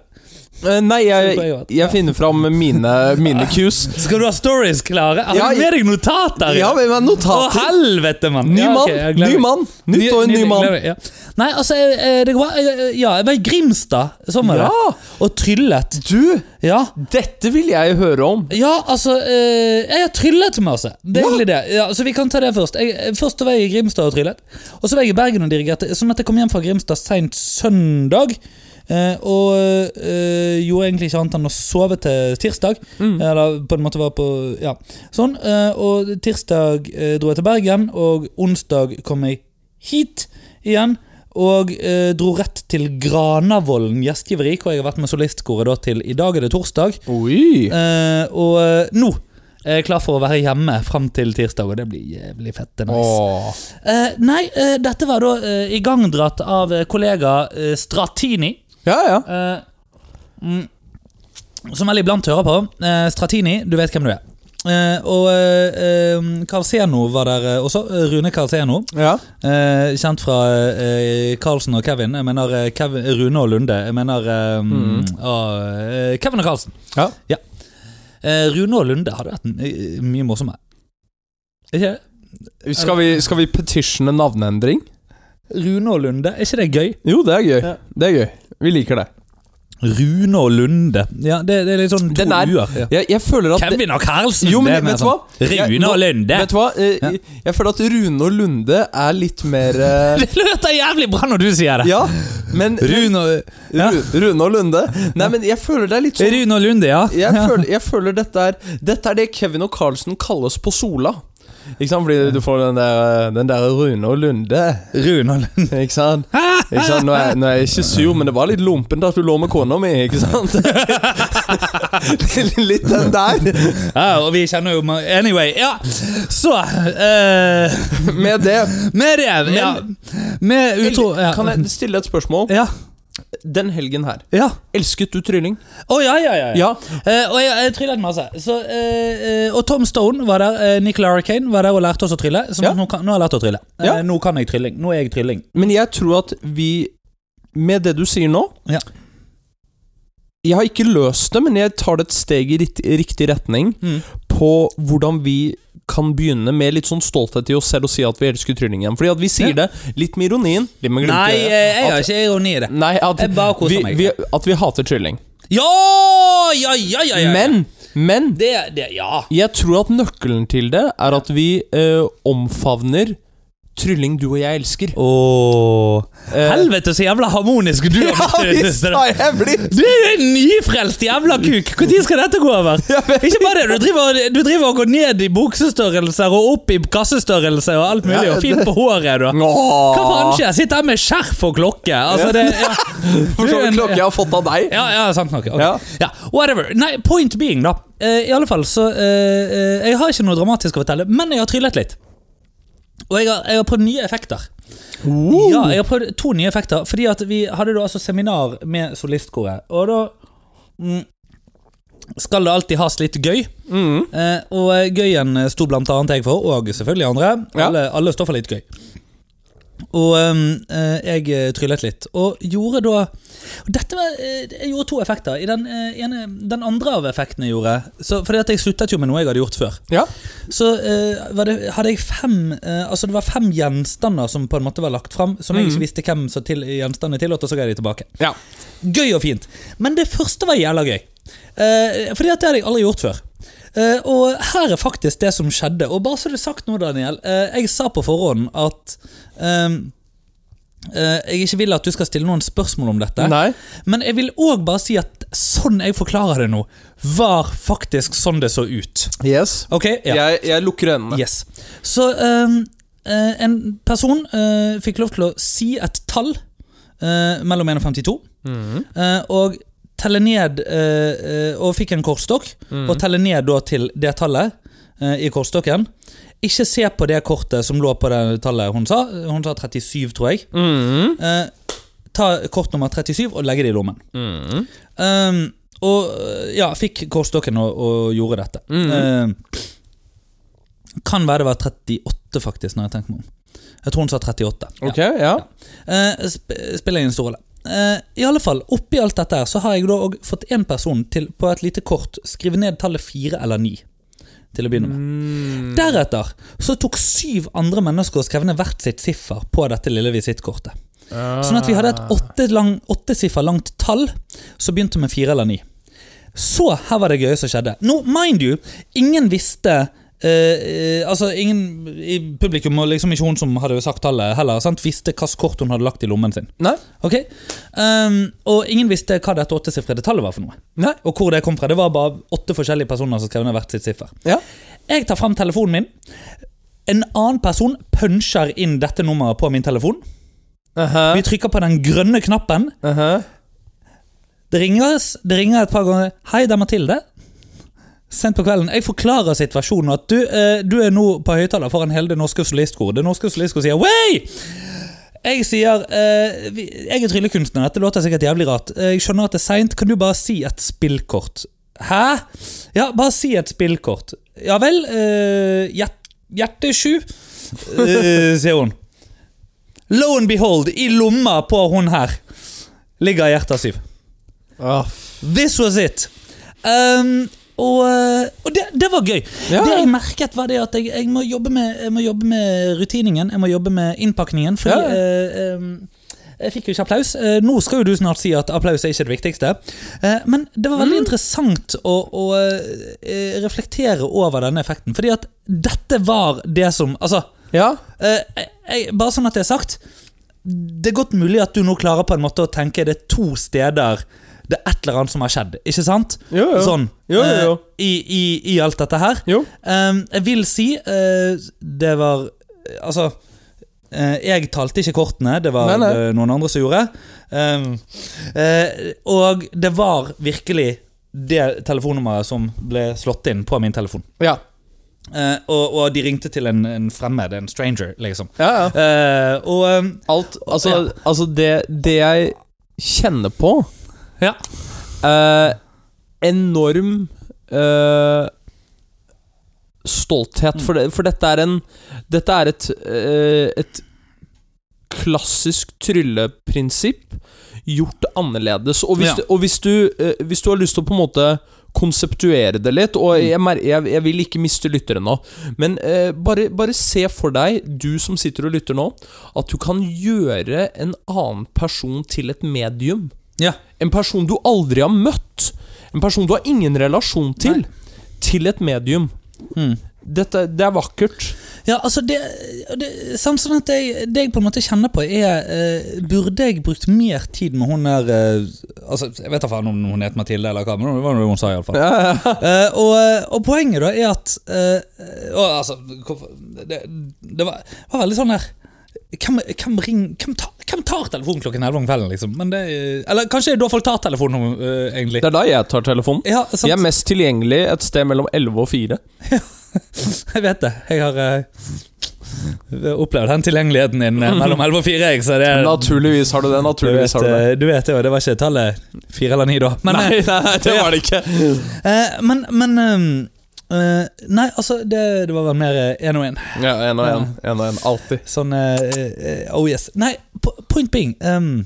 Speaker 1: Eh, Nei,
Speaker 2: Hvor
Speaker 1: jeg,
Speaker 2: jeg har vært? Ja.
Speaker 1: jeg finner fram mine, mine cues.
Speaker 2: Skal du ha stories klare? Har
Speaker 1: Ja,
Speaker 2: du med deg notater?
Speaker 1: Ja, men men
Speaker 2: Å,
Speaker 1: notater.
Speaker 2: helvete, mann!
Speaker 1: Ny
Speaker 2: Ja, ok,
Speaker 1: mann,
Speaker 2: jeg
Speaker 1: ny
Speaker 2: gleder meg.
Speaker 1: mann. Nytt og en ny mann.
Speaker 2: gleder meg, Ja. Nei, altså, jeg- jeg- det går bra. Jeg- jeg- Ja, jeg var i Grimstad, sånn var
Speaker 1: Ja,
Speaker 2: det. Og tryllet.
Speaker 1: du!
Speaker 2: Ja.
Speaker 1: Dette vil jeg høre om.
Speaker 2: Ja, altså eh, Jeg har tryllet masse. Det er egentlig det. Ja, så vi kan ta det først. Jeg, eh, først så var jeg i Grimstad og tryllet. Og så var jeg i Bergen og dirigerte. Sånn at jeg kom hjem fra Grimstad seint søndag. eh, og eh, gjorde egentlig ikke annet enn å sove til tirsdag. Eller på en måte var på Ja. Sånn. eh, og tirsdag eh, dro jeg til Bergen, og onsdag kom jeg hit igjen. Og eh, dro rett til Granavolden gjestgiveri, hvor jeg har vært med solistkoret da til i dag er det torsdag.
Speaker 1: Oi.
Speaker 2: Eh, og eh, nå er jeg klar for å være hjemme fram til tirsdag, og det blir jævlig fett. det er Nice.
Speaker 1: Åh.
Speaker 2: Eh, nei, eh, dette var da eh, igangdratt av eh, kollega eh, Stratini.
Speaker 1: Ja, ja.
Speaker 2: eh, mm, som veldig iblant hører på. Eh, Stratini, du vet hvem du er. Eh, og eh, eh, Carlseno var der eh, også. eh, Rune Carlseno.
Speaker 1: ja.
Speaker 2: Eh, kjent fra eh, Carlsen og Kevin. Jeg mener eh, Kevin, Rune og Lunde. Jeg mener eh, ah, eh, Kevin og Carlsen.
Speaker 1: Mm. Ja.
Speaker 2: Eh, Rune og Lunde hadde vært my- mye morsommere. Er Ikke det?
Speaker 1: Skal vi, skal vi petitione navneendring?
Speaker 2: Rune og Lunde, er ikke det gøy?
Speaker 1: Jo, det er gøy.
Speaker 2: Ja.
Speaker 1: Det er gøy. Vi liker det.
Speaker 2: Rune og Lunde. Ja, Det, det er litt sånn to
Speaker 1: Den er
Speaker 2: uer. Ja.
Speaker 1: jeg, jeg føler at
Speaker 2: Kevin og Karlsen!
Speaker 1: Jo, men
Speaker 2: det er mer
Speaker 1: vet du hva?
Speaker 2: sånn.
Speaker 1: Jeg-
Speaker 2: Rune
Speaker 1: nå-
Speaker 2: og Lunde!
Speaker 1: Vet du hva? Eh, Jeg, jeg føler at Rune og Lunde er litt mer eh,
Speaker 2: Det låter jævlig bra når du sier det!
Speaker 1: Ja, men
Speaker 2: Rune og, ja.
Speaker 1: Ru- Rune og Lunde Nei, men jeg føler det er litt sånn
Speaker 2: Rune og Lunde, ja.
Speaker 1: jeg føler, jeg føler dette er Dette er det Kevin og Carlsen kalles på Sola. Ikke sant? Fordi du får den der, den der Rune og Lunde.
Speaker 2: Rune og Lunde.
Speaker 1: Ikke sant? Ikke sant? Nå, er, nå er jeg ikke sur, men det var litt lumpent at du lå med kona mi, ikke sant? litt den der.
Speaker 2: Ja, og vi kjenner jo ma- Anyway, ja. Så eh,
Speaker 1: Med det
Speaker 2: Med det, ja. Med utro... Ja.
Speaker 1: Kan jeg stille et spørsmål?
Speaker 2: Ja.
Speaker 1: Den helgen her,
Speaker 2: ja.
Speaker 1: elsket du trylling?
Speaker 2: Å, ja, ja, ja.
Speaker 1: Ja.
Speaker 2: Eh, og jeg, jeg tryllet masse. Så, eh, eh, og Tom Stone var der. eh, Nicola Hurricane var der og lærte oss å trylle. Så
Speaker 1: Ja.
Speaker 2: nå, kan, nå har jeg lært å trylle. Eh,
Speaker 1: Ja.
Speaker 2: nå kan jeg trylling. Nå er jeg trylling.
Speaker 1: Men jeg tror at vi Med det du sier nå
Speaker 2: Ja.
Speaker 1: Jeg har ikke løst det, men jeg tar det et steg i rikt- riktig retning
Speaker 2: Mm.
Speaker 1: på hvordan vi kan begynne med litt sånn stolthet i oss selv og si at vi elsker trylling igjen. Fordi at vi sier
Speaker 2: Ja.
Speaker 1: det litt med ironien. Litt med glimt i
Speaker 2: Nei,
Speaker 1: øyet,
Speaker 2: eh, jeg
Speaker 1: at-
Speaker 2: har ikke ironi i det.
Speaker 1: Nei, at
Speaker 2: Jeg bare koser
Speaker 1: vi,
Speaker 2: meg.
Speaker 1: vi, at vi hater trylling.
Speaker 2: Ja, ja, ja, ja, ja.
Speaker 1: Men, men
Speaker 2: det, det, Ja.
Speaker 1: jeg tror at nøkkelen til det er at vi eh, omfavner trylling du og jeg elsker.
Speaker 2: Åh.
Speaker 1: Eh,
Speaker 2: Helvete, så jævla harmonisk du har blitt. i det siste, da.
Speaker 1: jeg blitt!
Speaker 2: Du er en nyfrelst jævla kuk! Når skal dette gå over? Ikke bare det, du driver, du driver og går ned i buksestørrelser og opp i kassestørrelse og alt mulig, og fint på håret. Du. Hva faen skjer? Sitter her med skjerf og klokke. Altså, det, ja.
Speaker 1: For så vidt klokke jeg har fått av deg.
Speaker 2: Ja, ja, sant nok. ok.
Speaker 1: Ja.
Speaker 2: Ja, whatever. Nei, point being, da. Eh, I alle fall, så eh, eh, Jeg har ikke noe dramatisk å fortelle, men jeg har tryllet litt. Og jeg har, jeg har prøvd nye effekter. Ja, jeg har prøvd to nye effekter. Fordi at vi hadde da altså seminar med solistkoret. Og da mm, skal det alltid has litt gøy. Eh, og eh, gøyen eh, sto blant annet jeg for, og selvfølgelig andre.
Speaker 1: Ja.
Speaker 2: Alle, alle står for litt gøy. Og ehm, eh, jeg eh, tryllet litt, og gjorde da og Dette var, eh, Jeg gjorde to effekter. I den, eh, ene, den andre av effektene jeg gjorde så, Fordi at jeg sluttet jo med noe jeg hadde gjort før.
Speaker 1: Ja.
Speaker 2: Så eh, var det, hadde jeg fem eh, Altså det var fem gjenstander som på en måte var lagt fram, som jeg ikke visste hvem som til, gjenstandene tilhørte, og så ga jeg de tilbake.
Speaker 1: ja.
Speaker 2: Gøy og fint. Men det første var jævla gøy. Eh, fordi at det hadde jeg aldri gjort før. Eh, og her er faktisk det som skjedde. Og bare så det er sagt nå, Daniel. eh, jeg sa på forhånd at ehm, eh, jeg ikke vil at du skal stille noen spørsmål om dette.
Speaker 1: Nei.
Speaker 2: Men jeg vil òg bare si at sånn jeg forklarer det nå, var faktisk sånn det så ut.
Speaker 1: Yes.
Speaker 2: Ok? Ja.
Speaker 1: Jeg, jeg lukker øynene.
Speaker 2: Yes. Så ehm, eh, en person eh, fikk lov til å si et tall eh, mellom 1 og 52, eh, og telle ned eh, eh, Og fikk en kortstokk, og telle ned da til det tallet eh, i kortstokken. Ikke se på det kortet som lå på det tallet hun sa. Hun sa 37, tror jeg.
Speaker 1: Mhm.
Speaker 2: Eh, ta kort nummer 37 og legge det i lommen.
Speaker 1: Mhm.
Speaker 2: Ehm, og ja, fikk kortstokken og, og gjorde dette. Ehm, kan være det var 38, faktisk, når jeg tenker meg om. Jeg tror hun sa 38.
Speaker 1: Ok, ja.
Speaker 2: Eh, sp spiller ingen stor rolle. Eh, I alle fall, oppi alt dette her, så har jeg da og fått én person til på et lite kort skrive ned tallet fire eller ni. Til å begynne med.
Speaker 1: Mm.
Speaker 2: Mm. Deretter så tok syv andre mennesker og skrev ned hvert sitt siffer på dette lille visittkortet. Sånn at vi hadde et åtte lang, åttesiffer langt tall som begynte med fire eller ni. Så her var det gøye som skjedde. Nå, mind you, ingen visste eh, eh, altså Ingen i publikum, og liksom ikke hun som hadde sagt tallet heller, sant, visste hvilket kort hun hadde lagt i lommen sin.
Speaker 1: Nei.
Speaker 2: Ok? Ehm, og ingen visste hva dette åttesifrede tallet var for noe.
Speaker 1: Nei.
Speaker 2: Og hvor det kom fra. Det var bare åtte forskjellige personer som skrev ned hvert sitt siffer.
Speaker 1: Ja.
Speaker 2: Jeg tar fram telefonen min. En annen person puncher inn dette nummeret på min telefon.
Speaker 1: Aha.
Speaker 2: Vi trykker på den grønne knappen.
Speaker 1: Aha.
Speaker 2: Det ringes, det ringer et par ganger. Hei, det er Mathilde. Sent på kvelden. Jeg forklarer situasjonen. At du, eh, du er nå på høyttaler foran hele det norske solistkoret. Det norske solistkoret sier Way! Jeg sier eh, vi- Jeg er tryllekunstner. Dette låter sikkert jævlig rart. Eh, Jeg skjønner at det er seint. Kan du bare si et spillkort? Hæ? Ja, bare si et spillkort. Ja vel? Eh, hjert, hjerte sju, eh, sier hun. Lo and behold, i lomma på hun her ligger hjertet syv.
Speaker 1: Ah,
Speaker 2: This was it. Um, og og det, det var gøy.
Speaker 1: Ja.
Speaker 2: Det jeg merket, var det at jeg, jeg, må jobbe med, jeg må jobbe med rutiningen, jeg må jobbe med innpakningen. Fordi
Speaker 1: Ja.
Speaker 2: eh, um, Jeg fikk jo ikke applaus. Eh, Nå skal jo du snart si at applaus er ikke det viktigste. Eh, Men det var veldig interessant å, å eh, reflektere over denne effekten. Fordi at dette var det som Altså,
Speaker 1: Ja.
Speaker 2: eh, jeg, jeg, bare sånn at det er sagt. Det er godt mulig at du nå klarer på en måte å tenke det er to steder det er et eller annet som har skjedd, ikke sant?
Speaker 1: Jo, jo.
Speaker 2: Sånn.
Speaker 1: Jo, jo, jo.
Speaker 2: eh, I, i, I alt dette her.
Speaker 1: Jo.
Speaker 2: Ehm, jeg vil si eh, det var Altså, eh, jeg talte ikke kortene, det var
Speaker 1: Nei, nei.
Speaker 2: det noen andre som gjorde. Ehm, eh, og det var virkelig det telefonnummeret som ble slått inn på min telefon.
Speaker 1: Ja.
Speaker 2: Eh, og, og de ringte til en, en fremmed, en stranger, liksom.
Speaker 1: ja, ja.
Speaker 2: Eh, og ehm,
Speaker 1: Alt Altså,
Speaker 2: Ja.
Speaker 1: altså det, det jeg kjenner på
Speaker 2: Ja.
Speaker 1: eh, Enorm eh, stolthet. For, det, for dette er en Dette er et, eh, et klassisk trylleprinsipp gjort annerledes. Og hvis,
Speaker 2: Ja.
Speaker 1: du- og hvis, du, eh, hvis du har lyst til å på en måte konseptuere det litt, og jeg, mer, jeg, jeg vil ikke miste lyttere nå, men eh, bare, bare se for deg, du som sitter og lytter nå, at du kan gjøre en annen person til et medium.
Speaker 2: ja.
Speaker 1: En person du aldri har møtt, en person du har ingen relasjon til, til et medium.
Speaker 2: Mm.
Speaker 1: Dette, det er vakkert.
Speaker 2: Ja, altså det, det Sånn som at jeg, det jeg på en måte kjenner på, er eh, Burde jeg brukt mer tid med hun der eh, Altså, Jeg vet da faen om hun het Mathilde eller hva, men det var noe hun sa, iallfall. Eh, og, og poenget da er at eh, og, altså, hvorfor- det, det var, var veldig sånn der hvem, hvem, ring, hvem, tar, hvem tar telefonen klokken 11 om kvelden, liksom? Men det, er- eller kanskje det er da folk tar telefonen, eh, egentlig.
Speaker 1: Det er da jeg tar telefonen.
Speaker 2: Ja, sant.
Speaker 1: Jeg er mest tilgjengelig et sted mellom 11 og 4.
Speaker 2: Jeg vet det. Jeg har eh, opplevd den tilgjengeligheten din eh, mellom 11 og 4. Jeg, så det er,
Speaker 1: Naturligvis har du det.
Speaker 2: du,
Speaker 1: naturligvis
Speaker 2: vet,
Speaker 1: har du det
Speaker 2: eh, du vet jo, det var ikke tallet 4 eller 9 da. Men,
Speaker 1: nei, nei, nei, det var det ikke.
Speaker 2: eh, men, men eh, eh, Nei, altså, det, det var vel mer eh, en og en
Speaker 1: Ja, En og en, en og en, Alltid.
Speaker 2: Sånn eh, eh, Oh yes. Nei, po- point being ehm,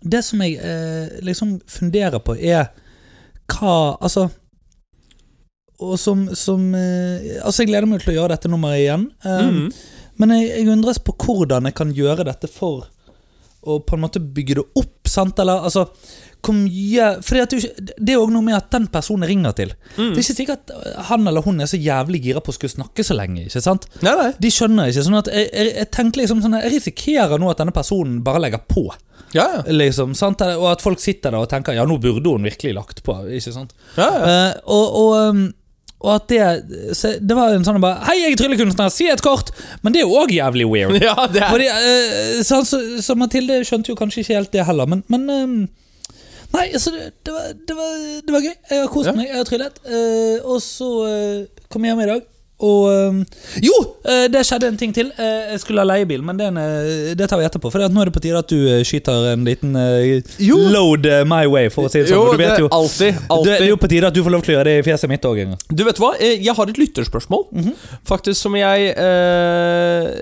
Speaker 2: Det som jeg eh, liksom funderer på, er hva Altså Og som, som eh, Altså, jeg gleder meg til å gjøre dette nummeret igjen. ehm,
Speaker 1: Mhm.
Speaker 2: Men jeg, jeg undres på hvordan jeg kan gjøre dette for å på en måte bygge det opp. sant? Eller altså Hvor mye For det er jo ikke- det er jo også noe med at den personen jeg ringer til Det er ikke sikkert at han eller hun er så jævlig gira på å skulle snakke så lenge. ikke sant?
Speaker 1: Nei, nei.
Speaker 2: De skjønner ikke. sånn at Jeg, jeg, jeg tenker liksom sånn at Jeg risikerer nå at denne personen bare legger på.
Speaker 1: Ja, ja.
Speaker 2: liksom, sant? Og at folk sitter der og tenker ja, nå burde hun virkelig lagt på. ikke sant?
Speaker 1: ja, ja.
Speaker 2: Eh, og, og, um, og at det så Det var en sånn bare Hei, jeg er tryllekunstner, si et kort! Men det er jo òg jævlig weird.
Speaker 1: Ja, det er
Speaker 2: Fordi, eh, så, så, så Mathilde skjønte jo kanskje ikke helt det heller, men, men ehm, Nei, altså, det, det, var, det, var, det var gøy. Jeg har kost
Speaker 1: Ja.
Speaker 2: meg, jeg har tryllet. eh, og så eh, kom jeg hjem i dag, og ehm, Jo! eh, det skjedde en ting til. Eh, jeg skulle ha leiebil, men den, eh, det tar vi etterpå. For nå er det på tide at du eh, skyter en liten eh,
Speaker 1: Jo.
Speaker 2: load eh, my way, for å si det sånn.
Speaker 1: Jo,
Speaker 2: for du
Speaker 1: det
Speaker 2: vet
Speaker 1: er
Speaker 2: jo
Speaker 1: alltid.
Speaker 2: det, det
Speaker 1: alltid.
Speaker 2: er jo på tide at du får lov til å gjøre det i fjeset mitt òg.
Speaker 1: Du vet hva, Eh, jeg har et lytterspørsmål Faktisk som jeg eh,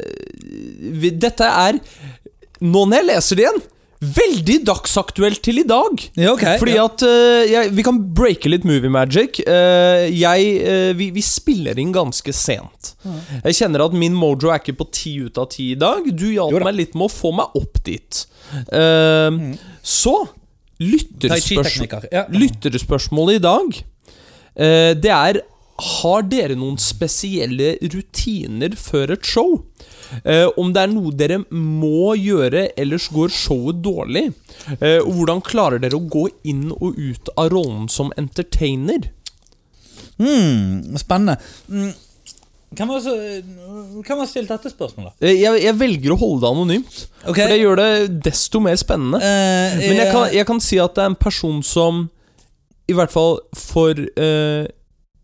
Speaker 1: vi- Dette er Nå når jeg leser det igjen Veldig dagsaktuelt til i dag
Speaker 2: Ja, ok.
Speaker 1: Fordi
Speaker 2: Ja.
Speaker 1: at eh, jeg, Vi kan breake litt movie magic Eh, jeg, eh, vi, vi spiller inn ganske sent
Speaker 2: Mm.
Speaker 1: Jeg kjenner at min mojo er ikke på 10 ut av 10 i dag Du
Speaker 2: Jo
Speaker 1: hjalp
Speaker 2: da. Mm.
Speaker 1: meg litt med å få meg opp dit Eh, Så Lytterspørsmål
Speaker 2: Tai chi-tekniker. Ja.
Speaker 1: Lytterspørsmålet i dag, eh, det er Har dere noen spesielle rutiner før et show? Eh, om det er noe dere må gjøre, ellers går showet dårlig? Eh, og hvordan klarer dere å gå inn og ut av rollen som entertainer?
Speaker 2: Hmm, spennende. Mm. Hvem har så- hvem har stilt dette spørsmålet?
Speaker 1: Eh, jeg, jeg velger å holde det anonymt,
Speaker 2: Ok.
Speaker 1: for det gjør det desto mer spennende.
Speaker 2: Eh,
Speaker 1: Men jeg kan, jeg kan si at det er en person som, i hvert fall for eh,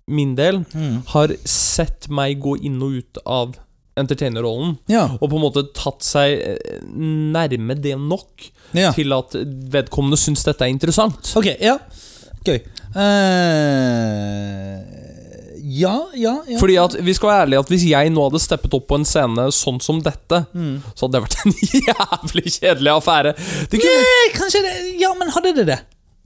Speaker 1: min del,
Speaker 2: Mm.
Speaker 1: har sett meg gå inn og ut av entertainerrollen.
Speaker 2: Ja.
Speaker 1: Og på en måte tatt seg eh, nærme det nok
Speaker 2: ja.
Speaker 1: til at vedkommende syns dette er interessant.
Speaker 2: Ok, ja. Gøy. Eh, ja, ja, ja.
Speaker 1: Fordi at, vi skal være ærlige at Hvis jeg nå hadde steppet opp på en scene sånn som dette,
Speaker 2: Mm.
Speaker 1: så hadde det vært en jævlig kjedelig affære. Det kunne,
Speaker 2: Eh, Kanskje det Ja, men hadde det det?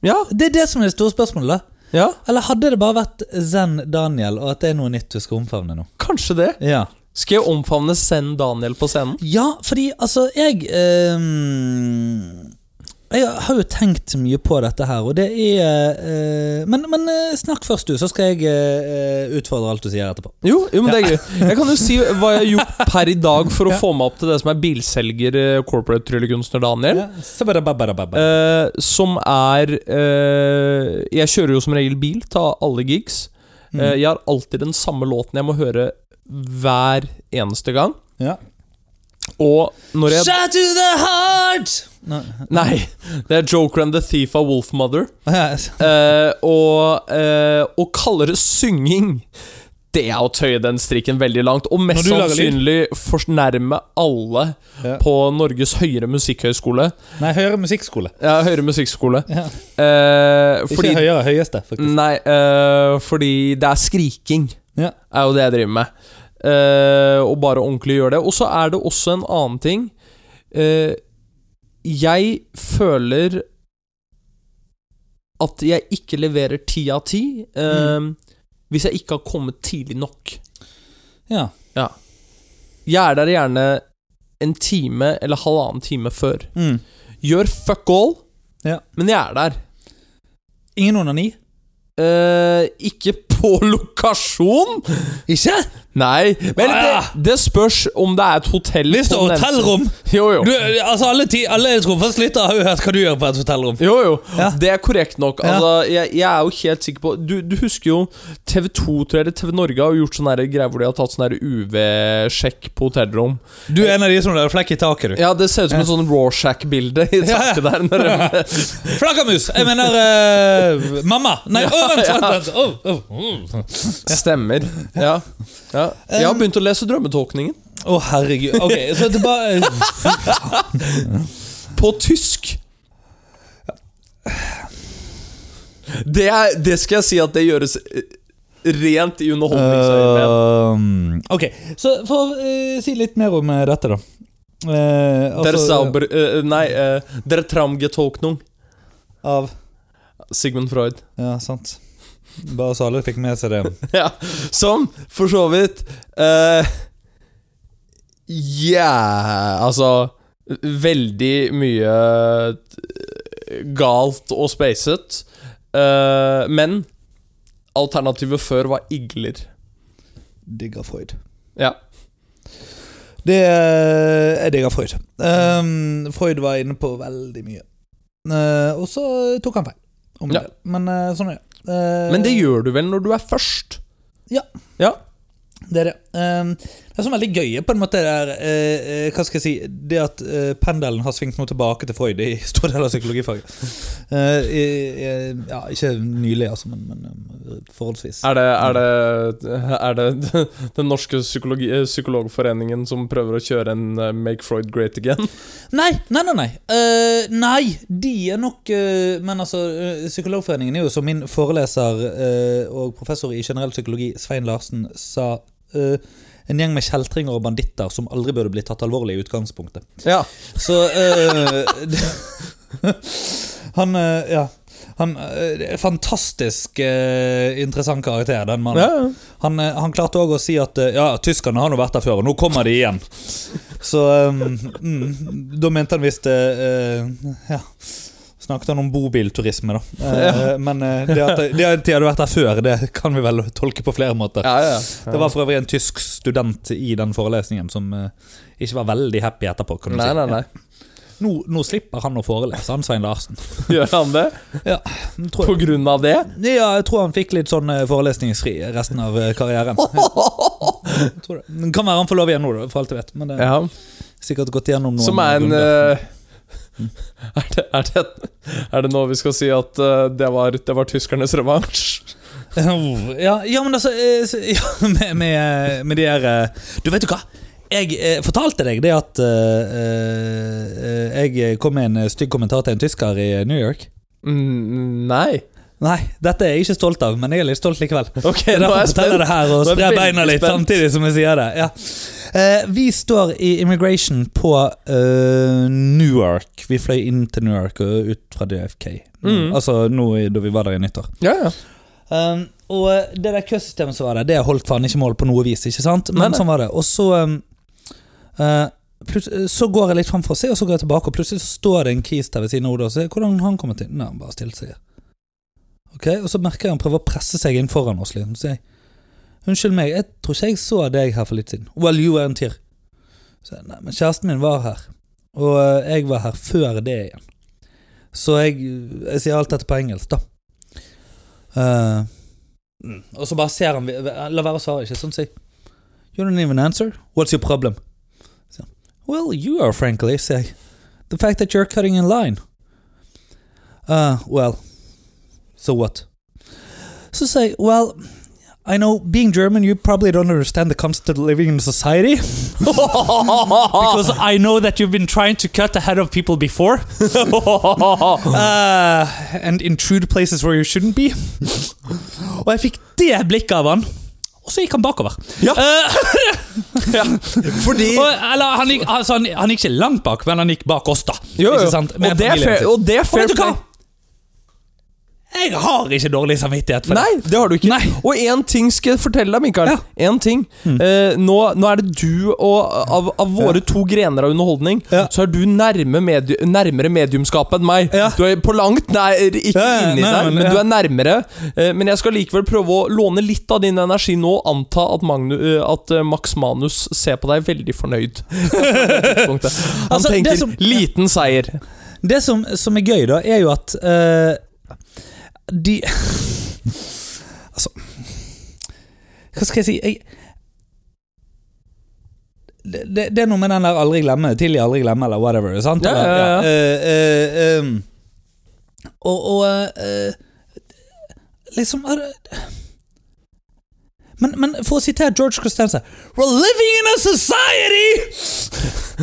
Speaker 1: ja,
Speaker 2: Det er det som er det store spørsmålet, da.
Speaker 1: ja,
Speaker 2: Eller hadde det bare vært Zen Daniel, og at det er noe nytt du skal omfavne nå?
Speaker 1: kanskje det.
Speaker 2: Ja.
Speaker 1: Skal jeg omfavne Send Daniel på scenen?
Speaker 2: Ja, fordi altså, jeg eh, Jeg har jo tenkt mye på dette her, og det er eh, Men, men eh, snakk først, du, så skal jeg eh, utfordre alt du sier etterpå.
Speaker 1: Jo, jo men det er gøy. Jeg kan jo si hva jeg har gjort per i dag for å få meg opp til det som er bilselger, eh, corporate tryllekunstner Daniel.
Speaker 2: Sabadababadababa.
Speaker 1: Eh, som er eh, Jeg kjører jo som regel bil, tar alle gigs. Eh, jeg har alltid den samme låten jeg må høre hver eneste gang.
Speaker 2: Ja.
Speaker 1: Og når jeg
Speaker 2: Shout to the heart! Nei.
Speaker 1: Nei! Det er Joker and the Thief av Wolfmother.
Speaker 2: Ja,
Speaker 1: Eh, og, eh, og kaller det synging. Det er å tøye den strikken veldig langt, og mest
Speaker 2: Når du lager
Speaker 1: sannsynlig fornærme alle
Speaker 2: Ja.
Speaker 1: på Norges høyere musikkhøgskole.
Speaker 2: Nei, høyere musikkskole.
Speaker 1: Ja, høyere musikkskole.
Speaker 2: Ja.
Speaker 1: Eh, fordi
Speaker 2: Ikke høyere, høyeste, faktisk.
Speaker 1: Nei, eh, fordi det er skriking,
Speaker 2: Ja.
Speaker 1: er jo det jeg driver med. Eh, og bare ordentlig gjør det. Og så er det også en annen ting. Eh, jeg føler at jeg ikke leverer ti av ti eh,
Speaker 2: Mm.
Speaker 1: hvis jeg ikke har kommet tidlig nok.
Speaker 2: ja.
Speaker 1: Jeg er der gjerne en time eller halvannen time før.
Speaker 2: Mm.
Speaker 1: Gjør fuck all,
Speaker 2: Ja.
Speaker 1: men jeg er der.
Speaker 2: Ingen onani?
Speaker 1: Eh, ikke på lokasjon!
Speaker 2: Ikke?
Speaker 1: Nei, men
Speaker 2: Ah,
Speaker 1: det, det spørs om det er et hotell
Speaker 2: Hvis det
Speaker 1: på
Speaker 2: Sånn
Speaker 1: den
Speaker 2: er hotellrom
Speaker 1: enten- Jo, jo.
Speaker 2: du, altså Alle, ti, alle trofast lyttere har jo hørt hva du gjør på et hotellrom.
Speaker 1: Jo, jo.
Speaker 2: Ja.
Speaker 1: Det er korrekt nok.
Speaker 2: Ja.
Speaker 1: Altså, jeg, jeg er jo helt sikker på Du, du husker jo TV2 tror jeg, eller TV Norge har jo gjort sånne her greier hvor de har tatt sånn her UV-sjekk på hotellrom.
Speaker 2: Du er en av de som har flekk i taket, du.
Speaker 1: Ja, det ser ut som et sånn Rawshack-bilde i
Speaker 2: Ja,
Speaker 1: taket der. Når de,
Speaker 2: Flaggermus! Jeg mener eh, mamma! Nei, å, vent, vent, vent. Å, å, å.
Speaker 1: Stemmer. Eh. Ja. ja. Jeg har begynt å lese Drømmetolkningen.
Speaker 2: Å, herregud. Ok, så tilbake
Speaker 1: På tysk. Det, er, det skal jeg si at det gjøres eh, rent i underholdningsøyemed.
Speaker 2: Øhm, Eh, Ok, så for å eh, si litt mer om eh, dette, da. Eh,
Speaker 1: Der
Speaker 2: altså,
Speaker 1: Sauber eh, Nei, eh, Der Traumgetolknung.
Speaker 2: Av
Speaker 1: Sigmund Freud.
Speaker 2: Ja, sant. Bare så alle fikk med seg det.
Speaker 1: ja, som for så vidt eh, yeah, Altså Veldig mye eh, galt og spacet. Eh, men alternativet før var igler.
Speaker 2: Digger Freud.
Speaker 1: Ja.
Speaker 2: Det eh, Jeg digger Freud. Ehm, Freud var inne på veldig mye. Eh, og så tok han feil. Om
Speaker 1: Ja.
Speaker 2: det. Men eh, sånn er det. Eh,
Speaker 1: Men det gjør du vel når du er først?
Speaker 2: Ja.
Speaker 1: Ja,
Speaker 2: Det er det. Ehm, det er sånn veldig gøy på en måte der, eh, eh, Hva skal jeg si Det at eh, pendelen har svingt noe tilbake til Freud i stor del av psykologifaget. Eh, i- i- ja, ikke nylig, altså, men, men eh, forholdsvis.
Speaker 1: Er det, er det, er det den norske psykologi, eh, psykologforeningen som prøver å kjøre en eh, Make Freud great again?
Speaker 2: Nei, nei, nei. Nei, Eh, nei de er nok eh, Men altså, eh, Psykologforeningen er jo som min foreleser eh, og professor i generell psykologi, Svein Larsen, sa eh, en gjeng med kjeltringer og banditter som aldri burde bli tatt alvorlig i utgangspunktet.
Speaker 1: Ja.
Speaker 2: Så eh, det- Han eh, Ja. Han, eh, det er fantastisk eh, interessant karakter, den mannen.
Speaker 1: ja.
Speaker 2: Han, eh, han klarte òg å si at eh, ja, tyskerne har nå vært der før, og nå kommer de igjen. Så um, mm, Da mente han visst eh, eh, Ja. Snakket han om bobilturisme, da. Eh, Men eh, det at, det at de hadde vært der før, det kan vi vel tolke på flere måter.
Speaker 1: Ja, ja.
Speaker 2: Det var for øvrig en tysk student i den forelesningen som eh, ikke var veldig happy etterpå. kan du
Speaker 1: Nei,
Speaker 2: si.
Speaker 1: nei, nei.
Speaker 2: Nå, nå slipper han å forelese, han Svein Larsen.
Speaker 1: Gjør han det?
Speaker 2: Ja, tror
Speaker 1: På
Speaker 2: jeg,
Speaker 1: grunn av det?
Speaker 2: ja, jeg tror han fikk litt sånn eh, forelesningsfri resten av eh, karrieren. Jeg tror det. Men Kan være han får lov igjen nå, da, for alt jeg vet. Men det er
Speaker 1: Ja.
Speaker 2: sikkert gått gjennom noen
Speaker 1: Som er en
Speaker 2: runder.
Speaker 1: eh, er, det, er, det, er det nå vi skal si at eh, det, var, det var tyskernes revansj?
Speaker 2: ja, ja, men altså eh, s- ja, med, med, med de her eh, Du, vet du hva? Jeg eh, fortalte deg det at eh, eh, jeg kom med en eh, stygg kommentar til en tysker i eh, New York.
Speaker 1: Mm, nei.
Speaker 2: Nei, dette er jeg ikke stolt av, men jeg er litt stolt likevel.
Speaker 1: Ok,
Speaker 2: Det er
Speaker 1: nå
Speaker 2: derfor
Speaker 1: er jeg
Speaker 2: jeg forteller
Speaker 1: spent.
Speaker 2: det her og
Speaker 1: Nå er jeg
Speaker 2: sprer
Speaker 1: veldig
Speaker 2: beina litt
Speaker 1: spent.
Speaker 2: samtidig som jeg sier det. Ja. Eh, vi står i immigration på eh, Newark. Vi fløy inn til Newark og ut fra DFK.
Speaker 1: Mm.
Speaker 2: Altså nå i- da vi var der i nyttår.
Speaker 1: Ja, ja.
Speaker 2: Um, Og eh, det der køsystemet som var der, det holdt faen ikke mål på noe vis. ikke sant? Men
Speaker 1: Nei, nei.
Speaker 2: sånn var det. Og så eh, eh, plut- eh, så går jeg litt framfor seg, og så går jeg tilbake, og plutselig så står det en kis der ved siden av Oda. Og så sier jeg, hvordan har han kommet inn? Nei, han bare stilte seg. Ok, Og så merker jeg han prøver å presse seg inn foran oss. liksom, så sier jeg, Unnskyld meg, jeg tror ikke jeg så deg her for litt siden. Well, you weren't here. Så jeg, nei, men kjæresten min var her, og eh, jeg var her før det igjen. Så jeg, eh, jeg sier alt dette på engelsk, da. Eh, mm. og så bare ser han eh, La være å svare, ikke sånn si. You don't even answer. What's your problem? Så, well, you are, frankly, sier jeg. The fact that you're cutting in line. Uh, well, so what? So say, well, I know being German, you probably don't understand the concept of living in society. because I know that you've been trying to cut ahead of people before uh, and intrude places where you shouldn't be. Og jeg fikk det blikket av han. Og så gikk han bakover.
Speaker 1: Ja.
Speaker 2: Eh,
Speaker 1: Fordi
Speaker 2: og, eller, han, gikk, altså, han, han gikk ikke langt bak, men han gikk bak oss, da.
Speaker 1: Jo, jo.
Speaker 2: Ikke sant?
Speaker 1: Og
Speaker 2: Med
Speaker 1: det er
Speaker 2: familien
Speaker 1: fair,
Speaker 2: sin.
Speaker 1: og det er
Speaker 2: Og
Speaker 1: fair
Speaker 2: vet du hva?
Speaker 1: play.
Speaker 2: Jeg har ikke dårlig samvittighet for
Speaker 1: Nei, det har du ikke.
Speaker 2: Nei.
Speaker 1: Og én ting skal jeg fortelle deg, Mikael.
Speaker 2: Ja. Mm.
Speaker 1: En ting. Eh, nå, nå er det du og Av, av våre to grener av underholdning,
Speaker 2: Ja.
Speaker 1: så er du nærme medie, nærmere mediumskapet enn meg.
Speaker 2: Ja.
Speaker 1: Du er på langt nær ikke
Speaker 2: Ja, ja,
Speaker 1: inni
Speaker 2: nei,
Speaker 1: der,
Speaker 2: men-
Speaker 1: men
Speaker 2: ja.
Speaker 1: du er nærmere. Eh, men jeg skal likevel prøve å låne litt av din energi nå og anta at, Magnu, eh, at eh, Max Manus ser på deg veldig fornøyd. Han
Speaker 2: Altså, det
Speaker 1: tenker
Speaker 2: som-
Speaker 1: 'liten seier'.
Speaker 2: det. Det som, som er gøy, da, er jo at eh, de Altså Hva skal jeg si? Jeg, det, det det er noe med den der 'aldri glemme', 'tidlig aldri glemme', eller whatever. Sant?
Speaker 1: Ja, ja, ja.
Speaker 2: Eh, eh, em, og og eh, liksom er det- men, men for å sitere George Costanza We're living in a society!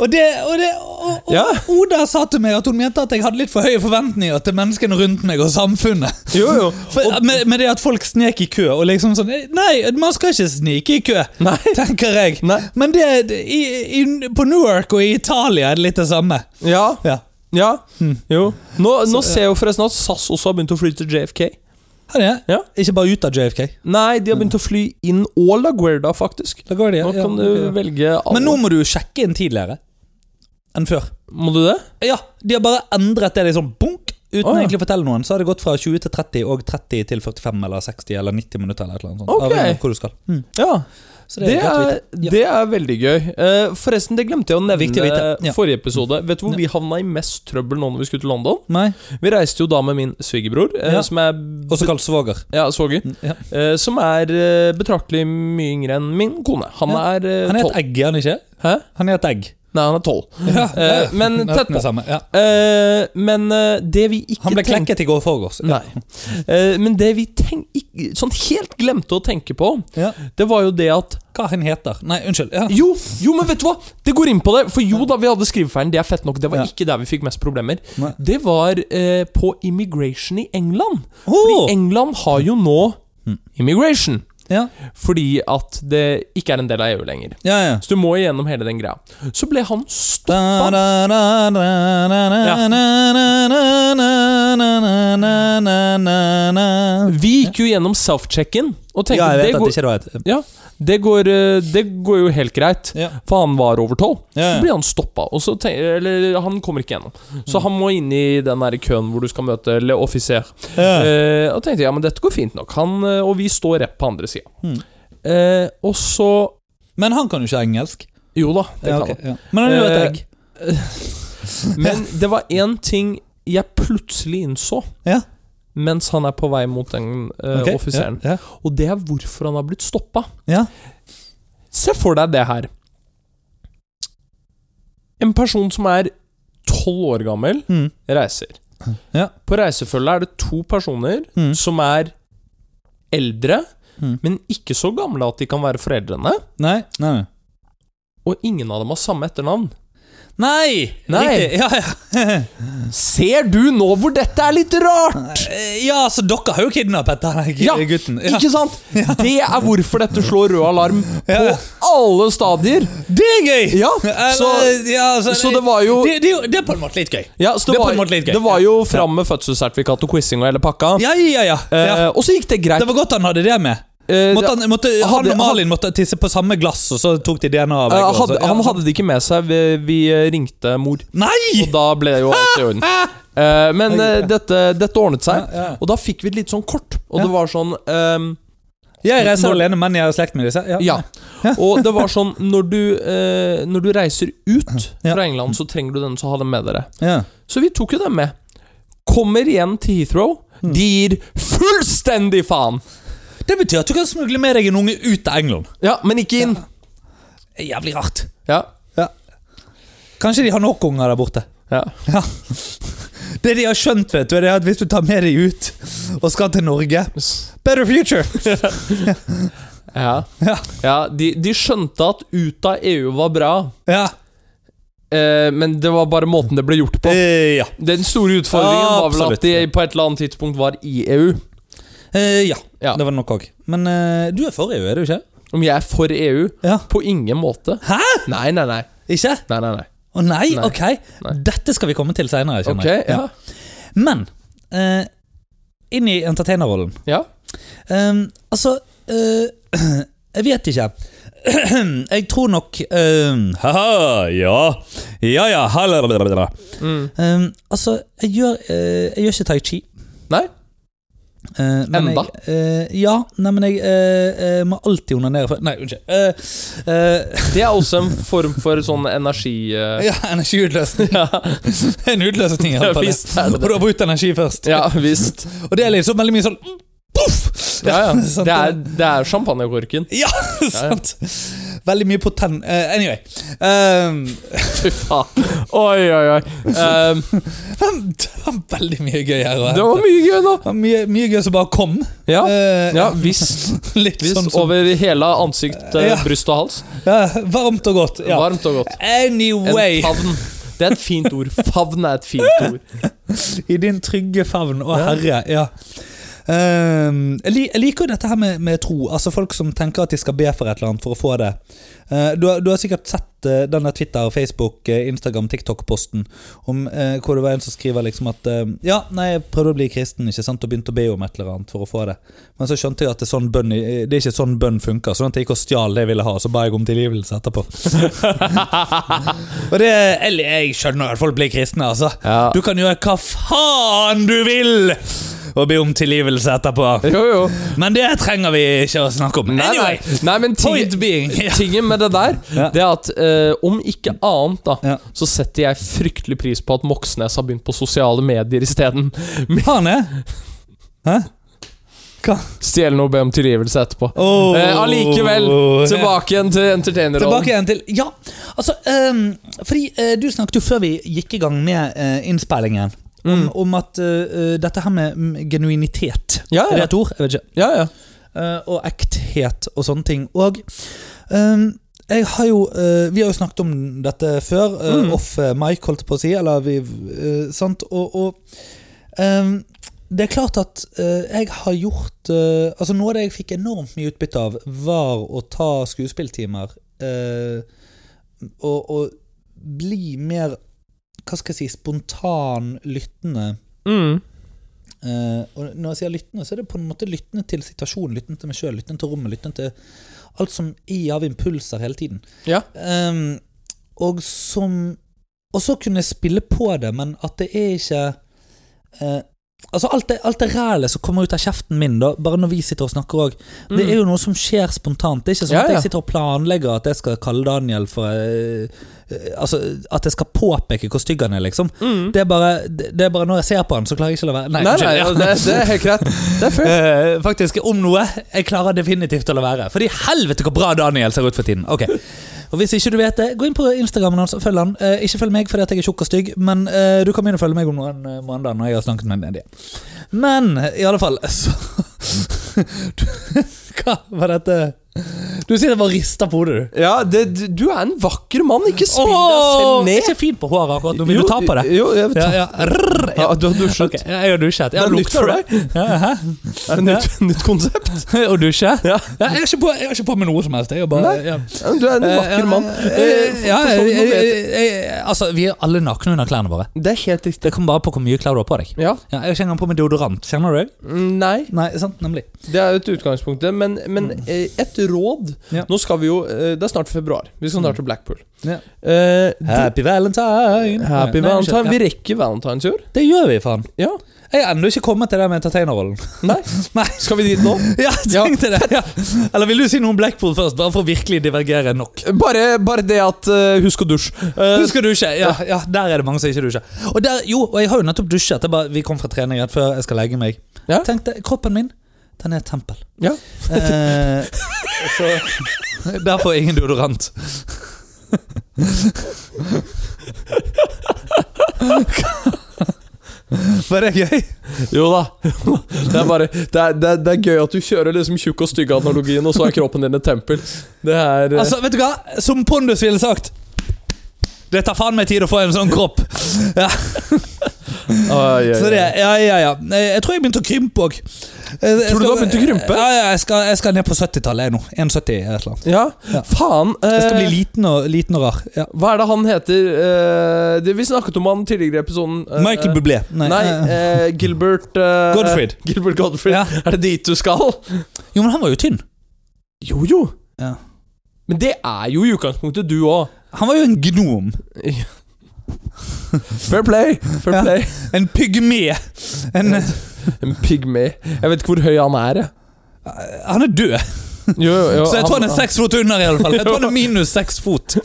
Speaker 2: og det, og det og, og
Speaker 1: Ja.
Speaker 2: Oda sa til meg at hun mente at jeg hadde litt for høye forventninger til menneskene rundt meg og samfunnet.
Speaker 1: Jo, jo.
Speaker 2: For, med, med det at folk snek i kø, og liksom sånn Nei, man skal ikke snike i kø,
Speaker 1: Nei.
Speaker 2: tenker jeg.
Speaker 1: Nei.
Speaker 2: Men det, det- i, i, på Newark og i Italia er det litt det samme.
Speaker 1: Ja.
Speaker 2: Ja.
Speaker 1: Ja,
Speaker 2: Hmm.
Speaker 1: jo. Nå, nå ser jeg jo forresten at SAS også har begynt å fly til JFK.
Speaker 2: Her er det.
Speaker 1: Ja.
Speaker 2: Ikke bare ut av JFK.
Speaker 1: Nei, de har begynt å fly inn og Laguerda, faktisk.
Speaker 2: Da går det,
Speaker 1: Nå
Speaker 2: ja.
Speaker 1: kan
Speaker 2: ok,
Speaker 1: du
Speaker 2: ja.
Speaker 1: velge alle.
Speaker 2: Men nå må du sjekke inn tidligere enn før.
Speaker 1: Må du det?
Speaker 2: Ja, de har bare endret det liksom bunk, uten
Speaker 1: Å, ja.
Speaker 2: egentlig å fortelle noen. Så har det gått fra 20 til 30, og 30 til 45 eller 60 eller 90 minutter eller et eller annet sånt.
Speaker 1: Ok.
Speaker 2: Avhengig av hvor du skal. Mm.
Speaker 1: Ja.
Speaker 2: Så
Speaker 1: Det
Speaker 2: godt å
Speaker 1: er,
Speaker 2: vite. Ja.
Speaker 1: det er veldig gøy. Eh, forresten, det glemte jeg å nevne
Speaker 2: Viktig å vite, ja.
Speaker 1: forrige episode. Vet du hvor vi havna i mest trøbbel nå når vi skulle til London?
Speaker 2: Nei.
Speaker 1: Vi reiste jo da med min svigerbror, eh,
Speaker 2: Ja. Mm.
Speaker 1: som er
Speaker 2: Også kalt svoger.
Speaker 1: ja, svoger.
Speaker 2: Ja.
Speaker 1: eh, som er eh, betraktelig mye yngre enn min kone. Han
Speaker 2: Ja.
Speaker 1: er eh,
Speaker 2: Han er
Speaker 1: tolv.
Speaker 2: et egg, er han ikke?
Speaker 1: Hæ?
Speaker 2: Han er et egg.
Speaker 1: Nei, han er tolv.
Speaker 2: Ja,
Speaker 1: Eh, men
Speaker 2: Nesten
Speaker 1: tett på.
Speaker 2: det samme, ja.
Speaker 1: Eh, men eh, det vi ikke Mm.
Speaker 2: Han ble
Speaker 1: tenkte-
Speaker 2: klekket i går forgårs.
Speaker 1: Nei. Eh, men det vi tenk, ikk- sånn helt glemte å tenke på,
Speaker 2: Ja.
Speaker 1: det var jo det at
Speaker 2: Hva han heter Nei, unnskyld. Ja.
Speaker 1: Jo, jo, men vet du hva! Det går inn på det. For jo da, vi hadde skrivefeilen. Det er fett nok. Det var
Speaker 2: Ja.
Speaker 1: ikke der vi fikk mest problemer.
Speaker 2: Nei.
Speaker 1: Det var eh, på immigration i England.
Speaker 2: Åh! Hm.
Speaker 1: Fordi England har jo nå immigration.
Speaker 2: Ja.
Speaker 1: Fordi at det ikke er en del av EU lenger.
Speaker 2: Ja, ja.
Speaker 1: Så du må igjennom hele den greia. Så ble han stoppa.
Speaker 2: Da, da, da, da, da, da,
Speaker 1: Ja.
Speaker 2: na, na, na, na, na, na, na, na, na.
Speaker 1: Vi gikk jo gjennom self-check-in og tenkte
Speaker 2: Ja, jeg
Speaker 1: det
Speaker 2: vet at
Speaker 1: går,
Speaker 2: det ikke var et
Speaker 1: Ja, det går, eh, det går jo helt greit.
Speaker 2: Ja.
Speaker 1: For han var over tolv.
Speaker 2: Ja, ja.
Speaker 1: Så blir han stoppa. og så tenk- Eller han kommer ikke gjennom. Så
Speaker 2: Mm.
Speaker 1: han må inn i den der køen hvor du skal møte le offiser.
Speaker 2: Ja.
Speaker 1: Eh, og tenkte ja, men dette går fint nok. Han, eh, og vi står rett på andre sida.
Speaker 2: Mm.
Speaker 1: Eh, og så
Speaker 2: Men han kan jo ikke engelsk.
Speaker 1: Jo da, det
Speaker 2: Ja,
Speaker 1: kan
Speaker 2: ok,
Speaker 1: han.
Speaker 2: ja. Men han er jo et
Speaker 1: Eh,
Speaker 2: egg.
Speaker 1: Men det var én ting jeg plutselig innså
Speaker 2: Ja.
Speaker 1: mens han er på vei mot den eh,
Speaker 2: ok, ja,
Speaker 1: offiseren.
Speaker 2: Ja.
Speaker 1: Og det er hvorfor han har blitt stoppa.
Speaker 2: Ja.
Speaker 1: Se for deg det her. En person som er tolv år gammel,
Speaker 2: Mm.
Speaker 1: reiser.
Speaker 2: Ja.
Speaker 1: På reisefølget er det to personer
Speaker 2: Mm.
Speaker 1: som er eldre,
Speaker 2: Mm.
Speaker 1: men ikke så gamle at de kan være foreldrene.
Speaker 2: Nei, nei. nei.
Speaker 1: Og ingen av dem har samme etternavn.
Speaker 2: Nei!
Speaker 1: Nei.
Speaker 2: Riktig. Ja, ja.
Speaker 1: Ser du nå hvor dette er litt rart?
Speaker 2: Eh, ja, så dere har jo kidnappet denne
Speaker 1: Ja,
Speaker 2: gutten. Ja.
Speaker 1: ikke sant? Det er hvorfor dette slår rød alarm på
Speaker 2: Ja.
Speaker 1: alle stadier.
Speaker 2: Det er gøy!
Speaker 1: Ja,
Speaker 2: Eller,
Speaker 1: så-
Speaker 2: ja, altså,
Speaker 1: så det var jo-
Speaker 2: det, det, er jo- det er på en måte litt gøy.
Speaker 1: Ja, så det,
Speaker 2: Det er på en
Speaker 1: var,
Speaker 2: måte litt gøy.
Speaker 1: det var jo fram med fødselssertifikat og quizing og hele pakka.
Speaker 2: Ja, ja, ja. ja.
Speaker 1: Eh, og så gikk det greit.
Speaker 2: Det var godt han hadde det med.
Speaker 1: Eh,
Speaker 2: Måtte han, måtte, han
Speaker 1: hadde-
Speaker 2: og Malin måtte tisse på samme glass, og så tok de DNA
Speaker 1: Eh,
Speaker 2: av begge. og
Speaker 1: hadde,
Speaker 2: så- altså, ja,
Speaker 1: han
Speaker 2: så-
Speaker 1: hadde det ikke med seg. Vi, vi eh, ringte mor.
Speaker 2: Nei!
Speaker 1: Og da ble jo alt i orden. Eh, men eh, dette, dette ordnet seg,
Speaker 2: Ja, ja.
Speaker 1: og da fikk vi et lite sånn kort. Og
Speaker 2: Ja.
Speaker 1: det var sånn ehm,
Speaker 2: Jeg reiser
Speaker 1: Når-
Speaker 2: alene, men jeg har slekt med disse. Ja.
Speaker 1: Ja. Og det var sånn Når du, eh, når du reiser ut
Speaker 2: Ja.
Speaker 1: fra England, så trenger du den, så ha den med dere.
Speaker 2: Ja.
Speaker 1: Så vi tok jo den med. Kommer igjen til Heathrow.
Speaker 2: Mm.
Speaker 1: De gir fullstendig faen!
Speaker 2: Det betyr at du kan smugle med deg en unge ut av England.
Speaker 1: Ja, men ikke inn.
Speaker 2: Jævlig rart.
Speaker 1: Ja.
Speaker 2: Kanskje de har nok unger der borte.
Speaker 1: ja.
Speaker 2: Ja. Det de har skjønt, vet du, er det at hvis du tar med deg ut og skal til Norge Better future!
Speaker 1: Ja,
Speaker 2: Ja.
Speaker 1: ja de, de skjønte at ut av EU var bra,
Speaker 2: Ja.
Speaker 1: eh, men det var bare måten det ble gjort på.
Speaker 2: Eh, ja.
Speaker 1: Den store utfordringen var vel
Speaker 2: Absolutt.
Speaker 1: at de på et eller annet tidspunkt var i E EU.
Speaker 2: Eh, ja.
Speaker 1: Ja.
Speaker 2: Det var nok òg. Men eh, du er for EU, er du ikke?
Speaker 1: Om jeg er for EU?
Speaker 2: Ja.
Speaker 1: På ingen måte.
Speaker 2: Hæ?
Speaker 1: Nei, nei, nei.
Speaker 2: Ikke?
Speaker 1: Nei, nei, nei.
Speaker 2: Å nei,
Speaker 1: Nei.
Speaker 2: ok. Dette skal vi komme til seinere,
Speaker 1: Ok,
Speaker 2: kjenner jeg.
Speaker 1: ja.
Speaker 2: Sånn, Ja. Men eh, inn i entertainerrollen.
Speaker 1: ja.
Speaker 2: Ehm, altså eh, Jeg vet ikke. jeg tror nok ehm, Haha, ja. Ja ja, halalalalala.
Speaker 1: Mm.
Speaker 2: Ehm, altså, jeg gjør, eh, jeg gjør ikke tai chi.
Speaker 1: Nei?
Speaker 2: Eh, men
Speaker 1: Enda?
Speaker 2: Jeg, eh, ja, nei, men jeg eh, eh, må alltid onanere før Nei, unnskyld. Eh, eh,
Speaker 1: Det er også en form for sånn energi... eh,
Speaker 2: ja, energiutløsning.
Speaker 1: Ja,
Speaker 2: en utløsning, i
Speaker 1: Ja,
Speaker 2: alle fall.
Speaker 1: visst er det det.
Speaker 2: Og du har brukt energi først.
Speaker 1: ja visst.
Speaker 2: Og det er liksom veldig mye sånn Poff!
Speaker 1: Ja, ja.
Speaker 2: sant,
Speaker 1: Det er, det er champagnekorken.
Speaker 2: Ja, sant. Veldig mye potent... eh, anyway. Um,
Speaker 1: Fy faen. Oi, oi, oi. Um,
Speaker 2: det var veldig mye gøy her.
Speaker 1: det
Speaker 2: Og
Speaker 1: var mye gøy nå.
Speaker 2: her. Mye, mye gøy som bare kom.
Speaker 1: Ja,
Speaker 2: Eh,
Speaker 1: ja visst.
Speaker 2: Litt
Speaker 1: Vis
Speaker 2: sånn som,
Speaker 1: over hele ansikt, eh,
Speaker 2: Ja.
Speaker 1: bryst og hals.
Speaker 2: ja, Varmt og godt. Ja.
Speaker 1: Varmt og godt. En
Speaker 2: Anyway,
Speaker 1: favn. Det er et fint ord. Favn er et fint ord.
Speaker 2: i din trygge favn, å herre. Ja. Um, jeg li- jeg liker jo dette her med, med tro. Altså Folk som tenker at de skal be for et eller annet for å få det. Eh, du, har, du har sikkert sett eh, denne Twitter, Facebook, eh, Instagram, TikTok-posten om eh, hvor det var en som skriver liksom at eh, Ja, nei, jeg prøvde å bli kristen ikke sant, og begynte å be om et eller annet for å få det. Men så skjønte jeg at det er, sånn bønn, i- det er ikke sånn bønn funker. Sånn at jeg gikk og stjal det jeg ville ha, og så ba jeg om tilgivelse etterpå. og det, eller Jeg skjønner at folk blir kristne, altså.
Speaker 1: Ja.
Speaker 2: Du kan gjøre hva faen du vil! Og be om tilgivelse etterpå.
Speaker 1: Jo, jo.
Speaker 2: Men det trenger vi ikke å snakke om.
Speaker 1: Nei, nei.
Speaker 2: Anyway,
Speaker 1: nei men ting,
Speaker 2: point being ja.
Speaker 1: tingen med det der,
Speaker 2: Ja.
Speaker 1: det er at eh, om ikke annet, da,
Speaker 2: Ja.
Speaker 1: så setter jeg fryktelig pris på at Moxnes har begynt på sosiale medier isteden.
Speaker 2: Han er eh? Hæ? Hva?
Speaker 1: Stjele noe og be om tilgivelse etterpå.
Speaker 2: Oh.
Speaker 1: Eh, Allikevel, tilbake igjen til entertainerrollen.
Speaker 2: Tilbake igjen til Ja, altså ehm, Fordi eh, du snakket jo før vi gikk i gang med eh, innspillingen, om,
Speaker 1: Mm.
Speaker 2: om at eh, eh, dette her med mm, genuinitet
Speaker 1: Ja, ja.
Speaker 2: Er det et ord? Jeg vet ikke.
Speaker 1: Ja, ja.
Speaker 2: Eh, og ekthet og sånne ting. Og ehm, jeg har jo eh, Vi har jo snakket om dette før. eh,
Speaker 1: Mm.
Speaker 2: Off eh, mic, holdt jeg på å si. Eller vi eh, Sant? Og, og ehm, det er klart at eh, jeg har gjort eh, Altså Noe av det jeg fikk enormt mye utbytte av, var å ta skuespilltimer eh, og, og bli mer Hva skal jeg si spontan lyttende.
Speaker 1: Mm.
Speaker 2: Eh, og når jeg sier lyttende, så er det på en måte lyttende til situasjonen, lyttende til meg sjøl, lyttende til rommet, lyttende til alt som er av impulser hele tiden.
Speaker 1: Ja.
Speaker 2: Ehm, og som Og så kunne jeg spille på det, men at det er ikke eh, Altså alt det, alt det rælet som kommer ut av kjeften min, da, bare når vi sitter og snakker òg, det er jo noe som skjer spontant. Det er ikke sånn
Speaker 1: Mm. Ja,
Speaker 2: at
Speaker 1: ja.
Speaker 2: jeg sitter og planlegger at jeg skal kalle Daniel for eh, eh, Altså at jeg skal påpeke hvor stygg han er, liksom. Det, er bare, det, det er bare når jeg ser på han, så klarer jeg ikke å la være.
Speaker 1: Mm. Nei,
Speaker 2: unnskyld,
Speaker 1: nei,
Speaker 2: ja.
Speaker 1: ja, det, det er helt greit. Det er fair.
Speaker 2: Eh, faktisk, om noe. Jeg klarer definitivt å la være. Fordi helvete hvor bra Daniel ser ut for tiden. Ok og Hvis ikke du vet det, gå inn på Instagramen hans og følg han. Eh, ikke følg meg fordi at jeg er tjukk og stygg, men eh, du kan begynne å følge meg om noen eh, måneder når jeg har snakket med deg. Men i alle fall så du, Hva var dette? Du sitter bare og rister på hodet, du.
Speaker 1: Ja, det, du er en vakker mann. Ikke spill deg
Speaker 2: Åh,
Speaker 1: selv ned.
Speaker 2: Ikke fint på håret akkurat nå, men du tar på det.
Speaker 1: Jo, jeg
Speaker 2: Ja,
Speaker 1: tar.
Speaker 2: ja. Rrr, ja.
Speaker 1: Ja, du har dusjet.
Speaker 2: Ok, jeg har dusjet. Jeg
Speaker 1: Det er nytt for
Speaker 2: lukter det. Ja, hæ?
Speaker 1: Er det nytt, nytt konsept?
Speaker 2: Å dusje?
Speaker 1: Ja.
Speaker 2: Ja, jeg, har ikke på, jeg har ikke på meg noe som helst. Jeg har bare,
Speaker 1: Nei.
Speaker 2: ja.
Speaker 1: Ja, men Du er en vakker mann. Eh, for-
Speaker 2: Ja,
Speaker 1: for
Speaker 2: jeg,
Speaker 1: sånn
Speaker 2: jeg,
Speaker 1: man vet-
Speaker 2: jeg- altså, vi er alle nakne under klærne våre.
Speaker 1: Det er helt riktig.
Speaker 2: Det kommer bare på hvor mye klær du har på deg.
Speaker 1: Ja.
Speaker 2: Ja, jeg kjenner på med deodorant. Kjenner du det?
Speaker 1: Mm, Nei,
Speaker 2: Nei, sant, nemlig.
Speaker 1: det er jo et utgangspunkt. det, Men, men eh, et råd
Speaker 2: Ja.
Speaker 1: Nå skal vi jo eh, Det er snart februar. Vi skal snart til Blackpool.
Speaker 2: Ja.
Speaker 1: Eh, du-
Speaker 2: Happy valentine!
Speaker 1: happy
Speaker 2: Nei, nei,
Speaker 1: valentine.
Speaker 2: ikke-
Speaker 1: Vi rekker valentines i år.
Speaker 2: Ja, det gjør vi, faen.
Speaker 1: Ja.
Speaker 2: Jeg har ennå ikke kommet til det med entertainerrollen.
Speaker 1: Nei.
Speaker 2: Nei.
Speaker 1: Skal vi dit nå?
Speaker 2: Ja, jeg tenkte det. Ja. Eller vil du si noe om Blackpool først, bare for å virkelig divergere nok?
Speaker 1: Bare, bare det at eh, Husk å dusje. Eh,
Speaker 2: Husker du ikke? Ja, ja, der er det mange som ikke dusjer. Og der, jo, og jeg har jo nettopp dusjet. Det er bare, vi kom fra trening rett før jeg skal legge meg.
Speaker 1: Ja.
Speaker 2: Tenkte, kroppen min, den er et tempel.
Speaker 1: ja.
Speaker 2: Eh, så, derfor ingen deodorant. Var det gøy?
Speaker 1: Jo da. Det er, bare, det, er, det, er, det er gøy at du kjører liksom tjukk og stygg-analogien, og så er kroppen din et tempel. Det er eh,
Speaker 2: Altså, vet du hva? Som Pondus ville sagt Det tar faen meg tid å få en sånn kropp. Ja,
Speaker 1: ai, ai, ai.
Speaker 2: så det, ja, ja, ja. Jeg tror jeg begynte å krympe òg.
Speaker 1: Tror du du har begynt å krympe?
Speaker 2: Ja, ja, jeg skal, jeg skal ned på 70-tallet jeg nå. 1,70 eller et eller annet.
Speaker 1: Ja,
Speaker 2: Ja.
Speaker 1: faen.
Speaker 2: Jeg
Speaker 1: eh,
Speaker 2: skal bli liten og, liten og rar. Ja.
Speaker 1: Hva er det han heter? Eh, det, vi snakket om han tidligere i episoden. eh,
Speaker 2: Michael Bublé.
Speaker 1: Nei,
Speaker 2: eh,
Speaker 1: eh, Gilbert eh,
Speaker 2: Gottfried.
Speaker 1: Gilbert Godfrey.
Speaker 2: Ja.
Speaker 1: Er det dit du skal?
Speaker 2: Jo, men han var jo tynn.
Speaker 1: Jo, jo.
Speaker 2: Ja.
Speaker 1: Men det er jo i utgangspunktet du òg.
Speaker 2: Han var jo en gnom.
Speaker 1: Fair play. Fair
Speaker 2: Ja.
Speaker 1: play.
Speaker 2: En pygme. En,
Speaker 1: Eh. En pygmy. Jeg vet ikke hvor høy han er. jeg.
Speaker 2: eh, han er død,
Speaker 1: Jo, jo, jo,
Speaker 2: så jeg tror han er seks fot under. i alle fall Jeg tror han
Speaker 1: Ja.
Speaker 2: er minus seks fot.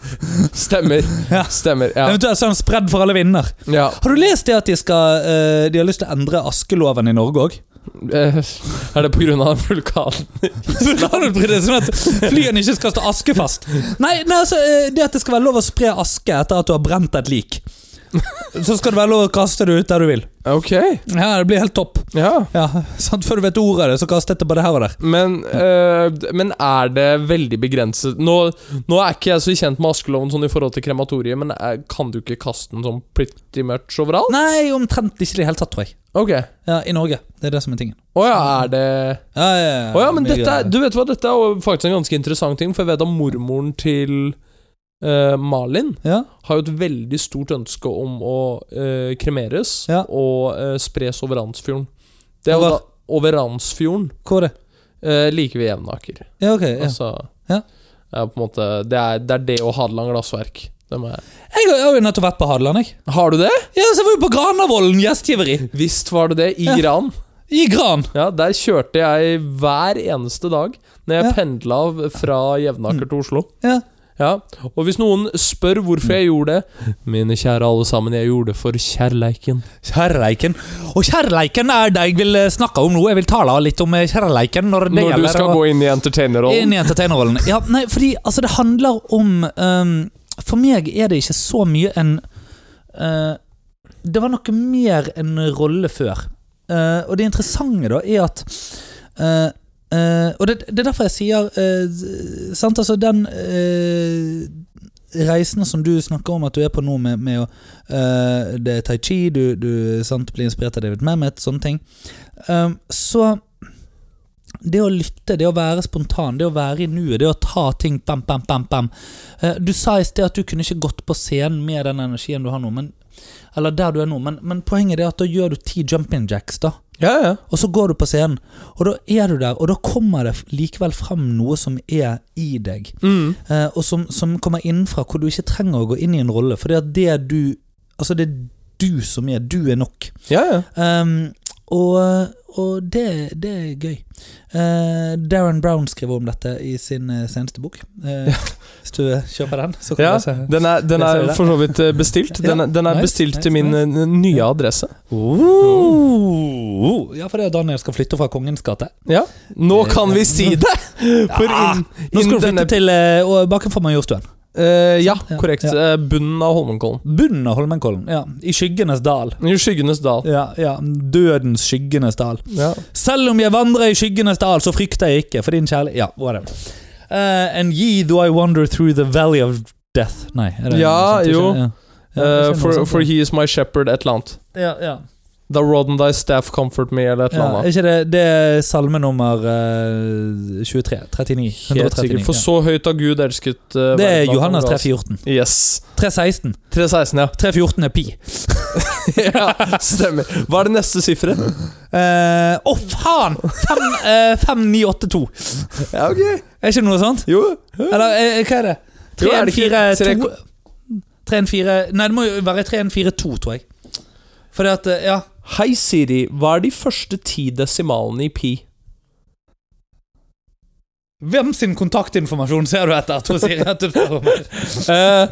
Speaker 1: Stemmer.
Speaker 2: Ja.
Speaker 1: Stemmer. Ja.
Speaker 2: Eventuelt så er han spredd for alle vinder.
Speaker 1: ja.
Speaker 2: Har du lest det at de, skal, eh, de har lyst til å endre askeloven i Norge òg?
Speaker 1: Eh, Er det på grunn av vulkanen?
Speaker 2: sånn at flyene ikke skal stå askefast. Nei, nei altså, eh, det at det skal være lov å spre aske etter at du har brent et lik. Så skal det være lov å kaste det ut der du vil.
Speaker 1: Ok.
Speaker 2: Ja, Det blir helt topp.
Speaker 1: Ja.
Speaker 2: Ja, sant? Før du vet ordet av det, så kastet det bare her og der.
Speaker 1: Men, eh, d- men er det veldig begrenset nå, nå er ikke jeg så kjent med askeloven sånn i forhold til krematoriet, men er, kan du ikke kaste den sånn pretty much overalt?
Speaker 2: Nei, omtrent ikke i det hele tatt, tror jeg.
Speaker 1: Ok.
Speaker 2: Ja, I Norge. Det er det som er tingen.
Speaker 1: Å ja, er det
Speaker 2: Ja, ja, ja.
Speaker 1: Å ja, men
Speaker 2: Mye
Speaker 1: dette er,
Speaker 2: greier.
Speaker 1: du vet hva, dette er jo faktisk en ganske interessant ting, for jeg vet at mormoren til eh, Malin
Speaker 2: ja.
Speaker 1: har jo et veldig stort ønske om å eh, kremeres
Speaker 2: Ja.
Speaker 1: og eh, spres over Randsfjorden. Det er jo da
Speaker 2: Over-
Speaker 1: over Randsfjorden
Speaker 2: Hvor er det?
Speaker 1: eh, liker vi Jevnaker.
Speaker 2: Ja, ok. Ja.
Speaker 1: Altså,
Speaker 2: Ja.
Speaker 1: er på en måte, det, er, det er det og Hadeland Glassverk. Dem er.
Speaker 2: Jeg har jo nettopp vært på Hadeland, jeg.
Speaker 1: Har du det?
Speaker 2: Ja, så var vi på Granavolden gjestgiveri.
Speaker 1: Visst var det det, i
Speaker 2: Ja.
Speaker 1: Gran.
Speaker 2: I Gran.
Speaker 1: Ja, der kjørte jeg hver eneste dag når jeg
Speaker 2: Ja. Mm.
Speaker 1: pendla fra Jevnaker til Oslo.
Speaker 2: Ja.
Speaker 1: Ja, Og hvis noen spør hvorfor jeg gjorde det Mine kjære alle sammen, jeg gjorde det for kjærleiken.
Speaker 2: Kjærleiken. Og kjærleiken er det jeg vil eh, snakke om nå. Jeg vil tale litt om eh, kjærleiken når det
Speaker 1: Når du
Speaker 2: gjelder
Speaker 1: skal
Speaker 2: å-
Speaker 1: gå inn i
Speaker 2: inn
Speaker 1: entertainerrollen.
Speaker 2: i entertainerrollen. Ja, nei, fordi altså, det handler om ehm, For meg er det ikke så mye en eh, Det var noe mer en rolle før. Eh, og det interessante, da, er at eh, eh, Og det, det er derfor jeg sier eh, Sant, altså den eh, reisen som du snakker om at du er på nå, med, med å eh, Det er tai chi, du, du sant, blir inspirert av David Mamet, sånne ting. Eh, så det å lytte, det å være spontan, det å være i nuet, det å ta ting bam, bam, bam, bam. Eh, Du sa i sted at du kunne ikke gått på scenen med den energien du har nå, men, eller der du er nå, men, men poenget er at da gjør du ti jumping jacks, da.
Speaker 1: Ja, ja.
Speaker 2: Og så går du på scenen, og da er du der, og da kommer det likevel fram noe som er i deg.
Speaker 1: Mm.
Speaker 2: Eh, og som, som kommer innenfra, hvor du ikke trenger å gå inn i en rolle, for det er det du Altså, det er du som er. Du er nok.
Speaker 1: ja, ja.
Speaker 2: Um, og og det, det er gøy. Eh, Darren Brown skriver om dette i sin eh, seneste bok. Eh, Hvis du eh, kjøper den, så kan
Speaker 1: Ja,
Speaker 2: du se.
Speaker 1: Den er, den
Speaker 2: Jeg ser
Speaker 1: er
Speaker 2: det.
Speaker 1: for så vidt eh, bestilt. Den,
Speaker 2: Ja,
Speaker 1: er- den er
Speaker 2: nice,
Speaker 1: bestilt til min
Speaker 2: nice, nice.
Speaker 1: eh, nye adresse. Uh.
Speaker 2: Oh. Ja, for det er Daniel skal flytte fra Kongens gate. Eh,
Speaker 1: Ja, Nå kan vi si det! For
Speaker 2: Ja,
Speaker 1: inn,
Speaker 2: Nå skal
Speaker 1: inn
Speaker 2: du flytte
Speaker 1: denne
Speaker 2: til eh, og bakenfor Majorstuen.
Speaker 1: Eh, Ja,
Speaker 2: Ja,
Speaker 1: korrekt.
Speaker 2: ja.
Speaker 1: Eh, Bunnen av Holmenkollen.
Speaker 2: Bunnen av Holmenkollen. Ja, I skyggenes dal.
Speaker 1: I skyggenes dal. Eh,
Speaker 2: Ja, ja, Dødens skyggenes dal.
Speaker 1: Ja.
Speaker 2: Selv om jeg vandrer i skyggenes dal, så frykter jeg ikke, for din kjærlighet Ja, whatever. Eh, and ye do I wander through the valley of death. Nei. er det
Speaker 1: Ja,
Speaker 2: noe sånt?
Speaker 1: jo.
Speaker 2: Ja. Ja,
Speaker 1: Eh,
Speaker 2: det skjer noe
Speaker 1: for,
Speaker 2: sånt,
Speaker 1: for
Speaker 2: sånn, ja.
Speaker 1: he is my shepherd, et eller annet.
Speaker 2: ja, ja.
Speaker 1: The rod and thy staff comfort me, eller et eller
Speaker 2: ja,
Speaker 1: annet.
Speaker 2: er ikke det, det er salme nummer eh, 23? 39?
Speaker 1: Helt sikkert.
Speaker 2: 139.
Speaker 1: For
Speaker 2: Ja.
Speaker 1: så høyt har Gud elsket eh,
Speaker 2: Det er
Speaker 1: verden at han
Speaker 2: Johannes
Speaker 1: ga oss-
Speaker 2: 3.14.
Speaker 1: Yes.
Speaker 2: 3.16.
Speaker 1: 316, ja.
Speaker 2: 3.14 er pi.
Speaker 1: ja. Stemmer. Hva er det neste sifferet?
Speaker 2: Eh, Å, faen! Fem, eh, 5982.
Speaker 1: Ja, ok.
Speaker 2: Er ikke noe sånt?
Speaker 1: Jo.
Speaker 2: Eller eh, hva er det?
Speaker 1: Jo, er det ikke
Speaker 2: 3142 3142 Nei, det må jo være 3142, tror jeg. Fordi at eh, Ja.
Speaker 1: Hei, Siri. Hva er de første ti desimalene i pi?
Speaker 2: Hvem sin kontaktinformasjon ser du etter? Tror Siri at du spør om
Speaker 1: Eh,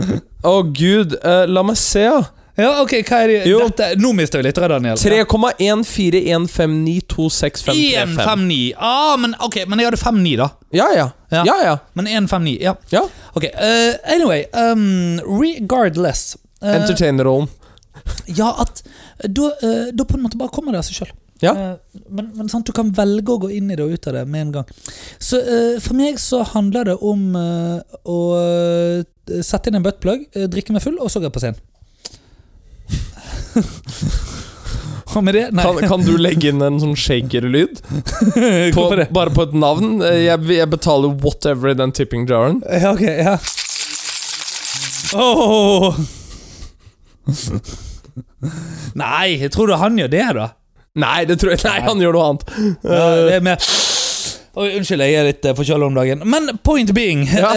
Speaker 1: Å, gud. eh, la meg se, ja.
Speaker 2: Ja, ok, hva er det?
Speaker 1: Jo.
Speaker 2: Dette, nå mister vi litt, Daniel.
Speaker 1: 3,141592653.
Speaker 2: 159. Ah, men ok, men jeg hadde 59, da.
Speaker 1: Ja, ja.
Speaker 2: Ja.
Speaker 1: Ja, ja.
Speaker 2: Men 159, ja.
Speaker 1: ja.
Speaker 2: Ok, eh, anyway. Um, regardless. eh,
Speaker 1: Entertainerrollen.
Speaker 2: ja, at da, eh, da på en måte bare kommer det av seg sjøl.
Speaker 1: Ja.
Speaker 2: men men sant, du kan velge å gå inn i det og ut av det med en gang. Så eh, for meg så handler det om eh, å eh, sette inn en buttplug, eh, drikke meg full, og så gå på scenen. og med det Nei.
Speaker 1: Kan, kan du legge inn en sånn shaker-lyd? På-
Speaker 2: Hvorfor det?
Speaker 1: Bare på et navn? Eh, Jeg, jeg betaler whatever i den tipping jaren.
Speaker 2: Ja, ok, ja. Åh. Nei, jeg tror du han gjør det, da?
Speaker 1: Nei, det tror jeg Nei, han gjør noe annet.
Speaker 2: Ja, det er mer Oi, unnskyld, jeg er litt eh, forkjøla om dagen. Men point being eh,
Speaker 1: Ja.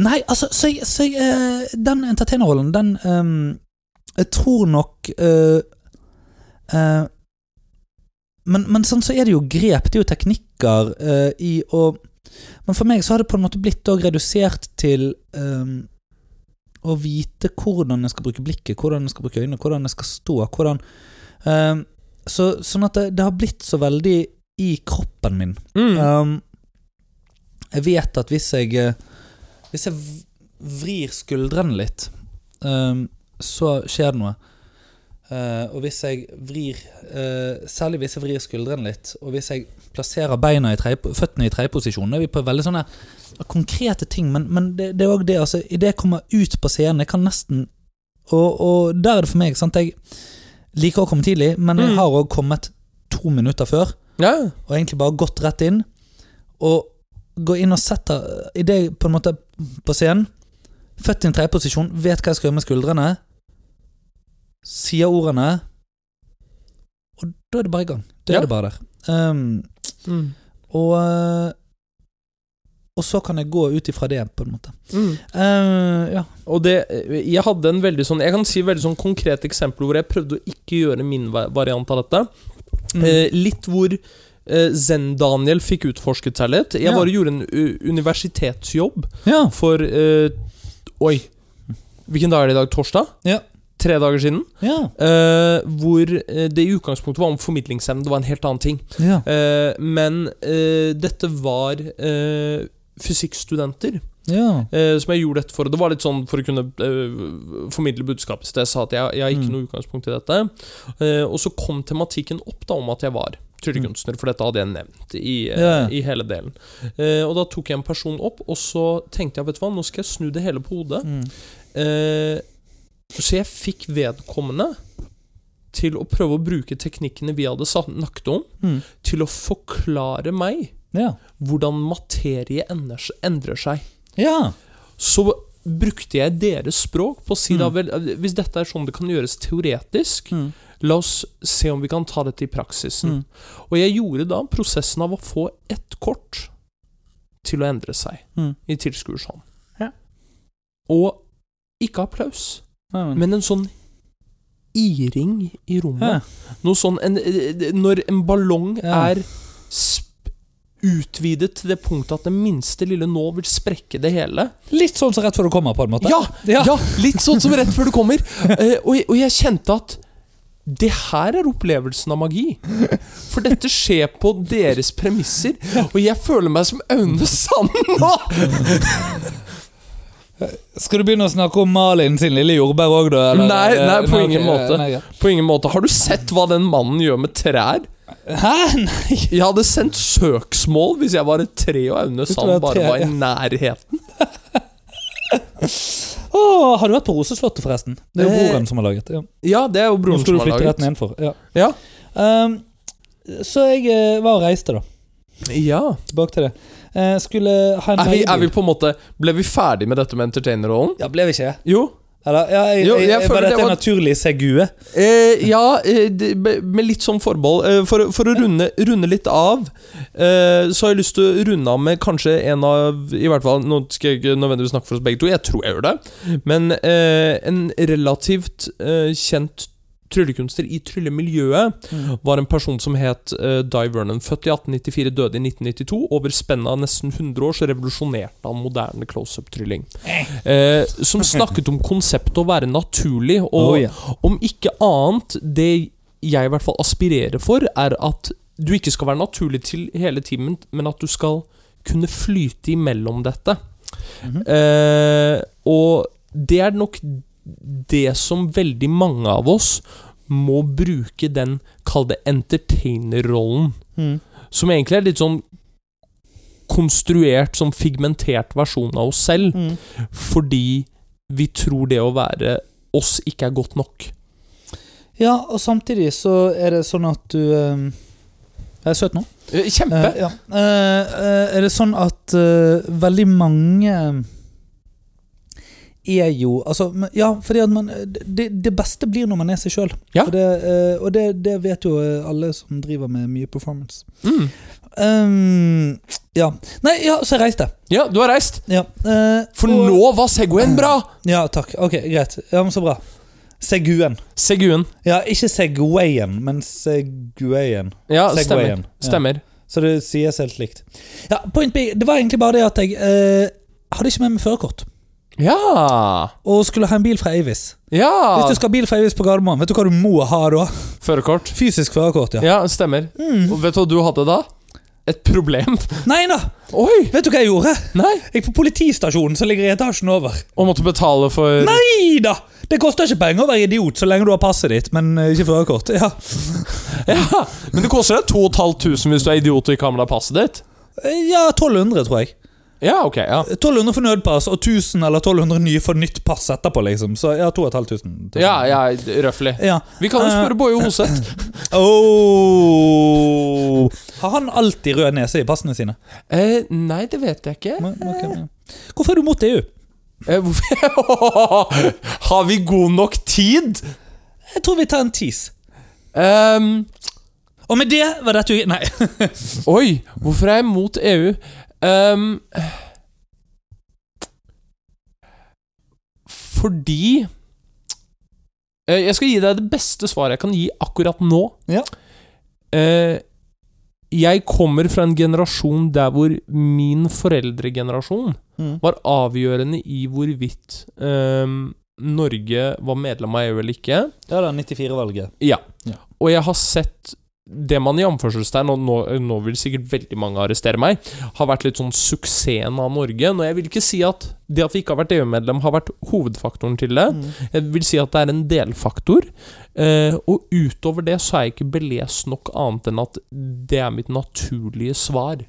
Speaker 2: Nei, altså, så, jeg- så jeg, eh, den entertainerrollen, den ehm, Jeg tror nok eh, eh, men, men sånn så er det jo grep, det er jo teknikker eh, i å Men for meg så har det på en måte blitt dog redusert til ehm, å vite hvordan jeg skal bruke blikket, hvordan jeg skal bruke øynene, hvordan jeg skal stå, hvordan ehm, så, Sånn at det, det har blitt så veldig i kroppen min.
Speaker 1: Mm.
Speaker 2: Um, jeg vet at hvis jeg eh, Hvis jeg v- vrir skuldrene litt, um, så skjer det noe. Eh, og hvis jeg vrir eh, Særlig hvis jeg vrir skuldrene litt, og hvis jeg plasserer beina i treip- føttene i tredjeposisjon, er vi på veldig sånne konkrete ting, men, men det, det er òg det, altså Idet jeg kommer ut på scenen, jeg kan nesten Og, og der er det for meg, sant Jeg liker å komme tidlig, men jeg
Speaker 1: Mm.
Speaker 2: har òg kommet to minutter før
Speaker 1: Ja.
Speaker 2: og egentlig bare gått rett inn. Og gå inn og sette i det på en måte på scenen. Født i en tredjeposisjon, vet hva jeg skal gjøre med skuldrene. Sier ordene. Og da er det bare i gang. Da
Speaker 1: Ja.
Speaker 2: er det bare der. Ehm,
Speaker 1: Mm.
Speaker 2: og eh, Og så kan jeg gå ut ifra det, på en måte.
Speaker 1: Mm.
Speaker 2: Ehm, ja.
Speaker 1: Og det, eh, jeg hadde en veldig sånn Jeg kan si veldig sånn konkret eksempel hvor jeg prøvde å ikke gjøre min va- variant av dette.
Speaker 2: Mm.
Speaker 1: Eh, litt hvor eh, Zen-Daniel fikk utforsket seg litt. Jeg
Speaker 2: Ja.
Speaker 1: bare gjorde en u- universitetsjobb
Speaker 2: ja.
Speaker 1: for eh, Oi. Hvilken dag er det i dag? Torsdag?
Speaker 2: Ja.
Speaker 1: Tre dager siden.
Speaker 2: Ja.
Speaker 1: Eh, hvor eh, det i utgangspunktet var om formidlingsevne. Det var en helt annen ting.
Speaker 2: Ja.
Speaker 1: Eh, men eh, dette var eh, fysikkstudenter
Speaker 2: ja.
Speaker 1: eh, som jeg gjorde dette for. Og det var litt sånn for å kunne eh, formidle budskapet. Så jeg sa at jeg, jeg har ikke
Speaker 2: Mm.
Speaker 1: noe utgangspunkt i dette. Eh, og så kom tematikken opp da om at jeg var tryllekunstner, for dette hadde jeg nevnt i, eh,
Speaker 2: Mm. Ja.
Speaker 1: i hele delen. Eh, og da tok jeg en person opp, og så tenkte jeg vet du hva, nå skal jeg snu det hele på hodet.
Speaker 2: Mm.
Speaker 1: Eh, så jeg fikk vedkommende til å prøve å bruke teknikkene vi hadde snakket om,
Speaker 2: Mm.
Speaker 1: til å forklare meg
Speaker 2: ja.
Speaker 1: hvordan materie ender- endrer seg
Speaker 2: Ja.
Speaker 1: så brukte jeg deres språk på å si
Speaker 2: Mm.
Speaker 1: da vel Hvis dette er sånn det kan gjøres teoretisk,
Speaker 2: Mm.
Speaker 1: la oss se om vi kan ta dette i praksisen.
Speaker 2: Mm.
Speaker 1: Og jeg gjorde da prosessen av å få ett kort til å endre seg
Speaker 2: Mm.
Speaker 1: i tilskuers hånd.
Speaker 2: Ja.
Speaker 1: Og ikke applaus,
Speaker 2: Ja, men-
Speaker 1: men en sånn iring i
Speaker 2: Ja.
Speaker 1: rommet. Noe sånn en, Når en ballong
Speaker 2: Ja.
Speaker 1: er sp utvidet til det punktet at det minste lille nå vil sprekke det hele.
Speaker 2: Litt sånn som rett før du kommer, på en måte.
Speaker 1: Ja, ja.
Speaker 2: Ja.
Speaker 1: litt sånn som rett før du kommer. Eh, og, jeg- og jeg kjente at det her er opplevelsen av magi. For dette skjer på deres premisser, og jeg føler meg som Aune Sand nå!
Speaker 2: Skal du begynne å snakke om Malin sin lille jordbær òg, da?
Speaker 1: Nei, nei, på
Speaker 2: ok,
Speaker 1: ingen måte.
Speaker 2: nei, greit.
Speaker 1: På ingen måte. Har du sett hva den mannen gjør med trær?
Speaker 2: Hæ? Nei!
Speaker 1: Jeg hadde sendt søksmål hvis jeg var et tre og Aune
Speaker 2: du
Speaker 1: Sand
Speaker 2: var
Speaker 1: bare
Speaker 2: tre,
Speaker 1: var i
Speaker 2: ja.
Speaker 1: nærheten.
Speaker 2: Åh, har du vært på Roseslottet, forresten? Det er jo
Speaker 1: Eh,
Speaker 2: broren som har laget. Ja.
Speaker 1: Ja, det er jo
Speaker 2: Nå
Speaker 1: broren
Speaker 2: skal
Speaker 1: som
Speaker 2: du
Speaker 1: har
Speaker 2: flytte rett
Speaker 1: laget.
Speaker 2: nedenfor. Ja.
Speaker 1: Ja.
Speaker 2: Ehm, så jeg eh, var og reiste, da.
Speaker 1: ja.
Speaker 2: Tilbake til det. Eh, skulle ha en
Speaker 1: Er, vi, er vi
Speaker 2: leiebil.
Speaker 1: på en måte Ble vi ferdig med dette med entertainerrollen?
Speaker 2: Ja, ble vi ikke det?
Speaker 1: Jo.
Speaker 2: Eller, ja, jeg,
Speaker 1: Jo,
Speaker 2: jeg,
Speaker 1: jeg
Speaker 2: jeg,
Speaker 1: føler
Speaker 2: bare
Speaker 1: det
Speaker 2: dette er
Speaker 1: var-
Speaker 2: naturlig segue.
Speaker 1: Eh, ja, eh, det- be- med litt sånn forbehold. Eh, for, for å runde, runde litt av, eh, så har jeg lyst til å runde av med kanskje en av I hvert fall, Nå skal jeg ikke nødvendigvis snakke for oss begge to, jeg tror jeg gjør det. Men eh, en relativt eh, kjent tryllekunstner i tryllemiljøet
Speaker 2: Mm.
Speaker 1: var en person som het eh, Di Vernon. Født i 1894, døde i 1992. Over spennet av nesten 100 år så revolusjonerte han moderne close-up-trylling. Eh, som snakket om konseptet å være naturlig, og
Speaker 2: Oh, ja.
Speaker 1: om ikke annet Det jeg i hvert fall aspirerer for, er at du ikke skal være naturlig til hele timen, men at du skal kunne flyte imellom dette.
Speaker 2: Mhm.
Speaker 1: eh, og det er nok det som veldig mange av oss må bruke den, kall det entertainer-rollen.
Speaker 2: Mhm.
Speaker 1: Som egentlig er litt sånn konstruert, sånn figmentert versjon av oss selv.
Speaker 2: Mhm.
Speaker 1: Fordi vi tror det å være oss ikke er godt nok.
Speaker 2: Ja, og samtidig så er det sånn at du ehm, Jeg er søt nå.
Speaker 1: Eh, Kjempe!
Speaker 2: Eh, ja. Eh, eh, er det sånn at eh, veldig mange er jo Altså, men- ja, fordi at man eh, Det, det beste blir når man er seg sjøl.
Speaker 1: Ja.
Speaker 2: Og, det, eh, og det, det vet jo eh, alle som driver med mye performance.
Speaker 1: Mm.
Speaker 2: Ehm, ja. Nei, ja, så jeg reiste.
Speaker 1: Ja, du har reist!
Speaker 2: Ja. eh,
Speaker 1: For
Speaker 2: og-
Speaker 1: nå var Segwayen bra!
Speaker 2: Ja, takk. Ok, greit. Ja, men Så bra. Seguen.
Speaker 1: Seguen.
Speaker 2: Ja, ikke Segwayen, men Segwayen.
Speaker 1: Ja, stemmer.
Speaker 2: Segwayen. Ja.
Speaker 1: Stemmer.
Speaker 2: Så det sies helt likt. Ja, point being, det var egentlig bare det at jeg eh, hadde ikke med meg førerkort.
Speaker 1: Ja!
Speaker 2: Og skulle ha en bil fra Avis. Hvis
Speaker 1: Ja!
Speaker 2: du skal ha bil fra Avis på Gardermoen, vet du hva du må ha da?
Speaker 1: Førerkort.
Speaker 2: Fysisk førerkort, ja.
Speaker 1: Ja, stemmer.
Speaker 2: Mm.
Speaker 1: Og vet du hva du hadde da? Et problem.
Speaker 2: Nei da!
Speaker 1: Oi!
Speaker 2: Vet du hva jeg gjorde?
Speaker 1: Nei!
Speaker 2: Jeg gikk på politistasjonen som ligger i etasjen over.
Speaker 1: Og måtte betale for
Speaker 2: Nei da! Det koster ikke penger å være idiot så lenge du har passet ditt, men eh, ikke førerkort. Ja.
Speaker 1: Ja, Men det koster deg 2500 hvis du er idiot og ikke har med deg passet ditt.
Speaker 2: Eh, ja, 1200, tror jeg.
Speaker 1: Ja, ok, ja.
Speaker 2: 1200 for nødpass og 1000 eller 1200 nye for nytt pass etterpå, liksom. Så ja, 2500.
Speaker 1: Ja, ja, røffelig.
Speaker 2: ja.
Speaker 1: Vi kan jo
Speaker 2: Eh,
Speaker 1: spørre Boje Hoseth.
Speaker 2: Oh. Har han alltid rød nese i passene sine?
Speaker 1: Eh, nei, det vet jeg ikke.
Speaker 2: Men- ok, ja. Hvorfor er du mot E EU?
Speaker 1: Eh, hvorfor- har vi god nok tid?
Speaker 2: Jeg tror vi tar en tease.
Speaker 1: Ehm,
Speaker 2: Og med det var dette u- Nei.
Speaker 1: oi, hvorfor er jeg mot EU? Ehm, fordi eh, Jeg skal gi deg det beste svaret jeg kan gi akkurat nå.
Speaker 2: Ja.
Speaker 1: Eh, jeg kommer fra en generasjon der hvor min foreldregenerasjon
Speaker 2: Mm.
Speaker 1: var avgjørende i hvorvidt ehm, Norge var medlem av EU eller ikke.
Speaker 2: Ja da, 94-valget.
Speaker 1: Ja.
Speaker 2: Ja.
Speaker 1: Og jeg har sett det man i anførselstegn, og nå, nå vil sikkert veldig mange arrestere meg, har vært litt sånn suksessen av Norge. Nå, jeg vil ikke si at det at vi ikke har vært EU-medlem, har vært hovedfaktoren til det.
Speaker 2: Mm.
Speaker 1: Jeg vil si at det er en delfaktor. Eh, og utover det så er jeg ikke belest nok annet enn at det er mitt naturlige svar.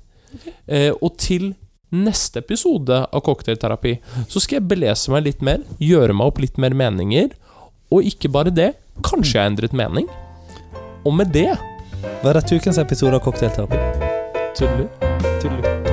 Speaker 1: Eh, og til neste episode av Cocktailterapi så skal jeg belese meg litt mer, gjøre meg opp litt mer meninger. Og ikke bare det, kanskje jeg har endret mening. Og med det
Speaker 2: Var dette ukens episode av Cocktailterapi?
Speaker 1: Tuller. Tuller.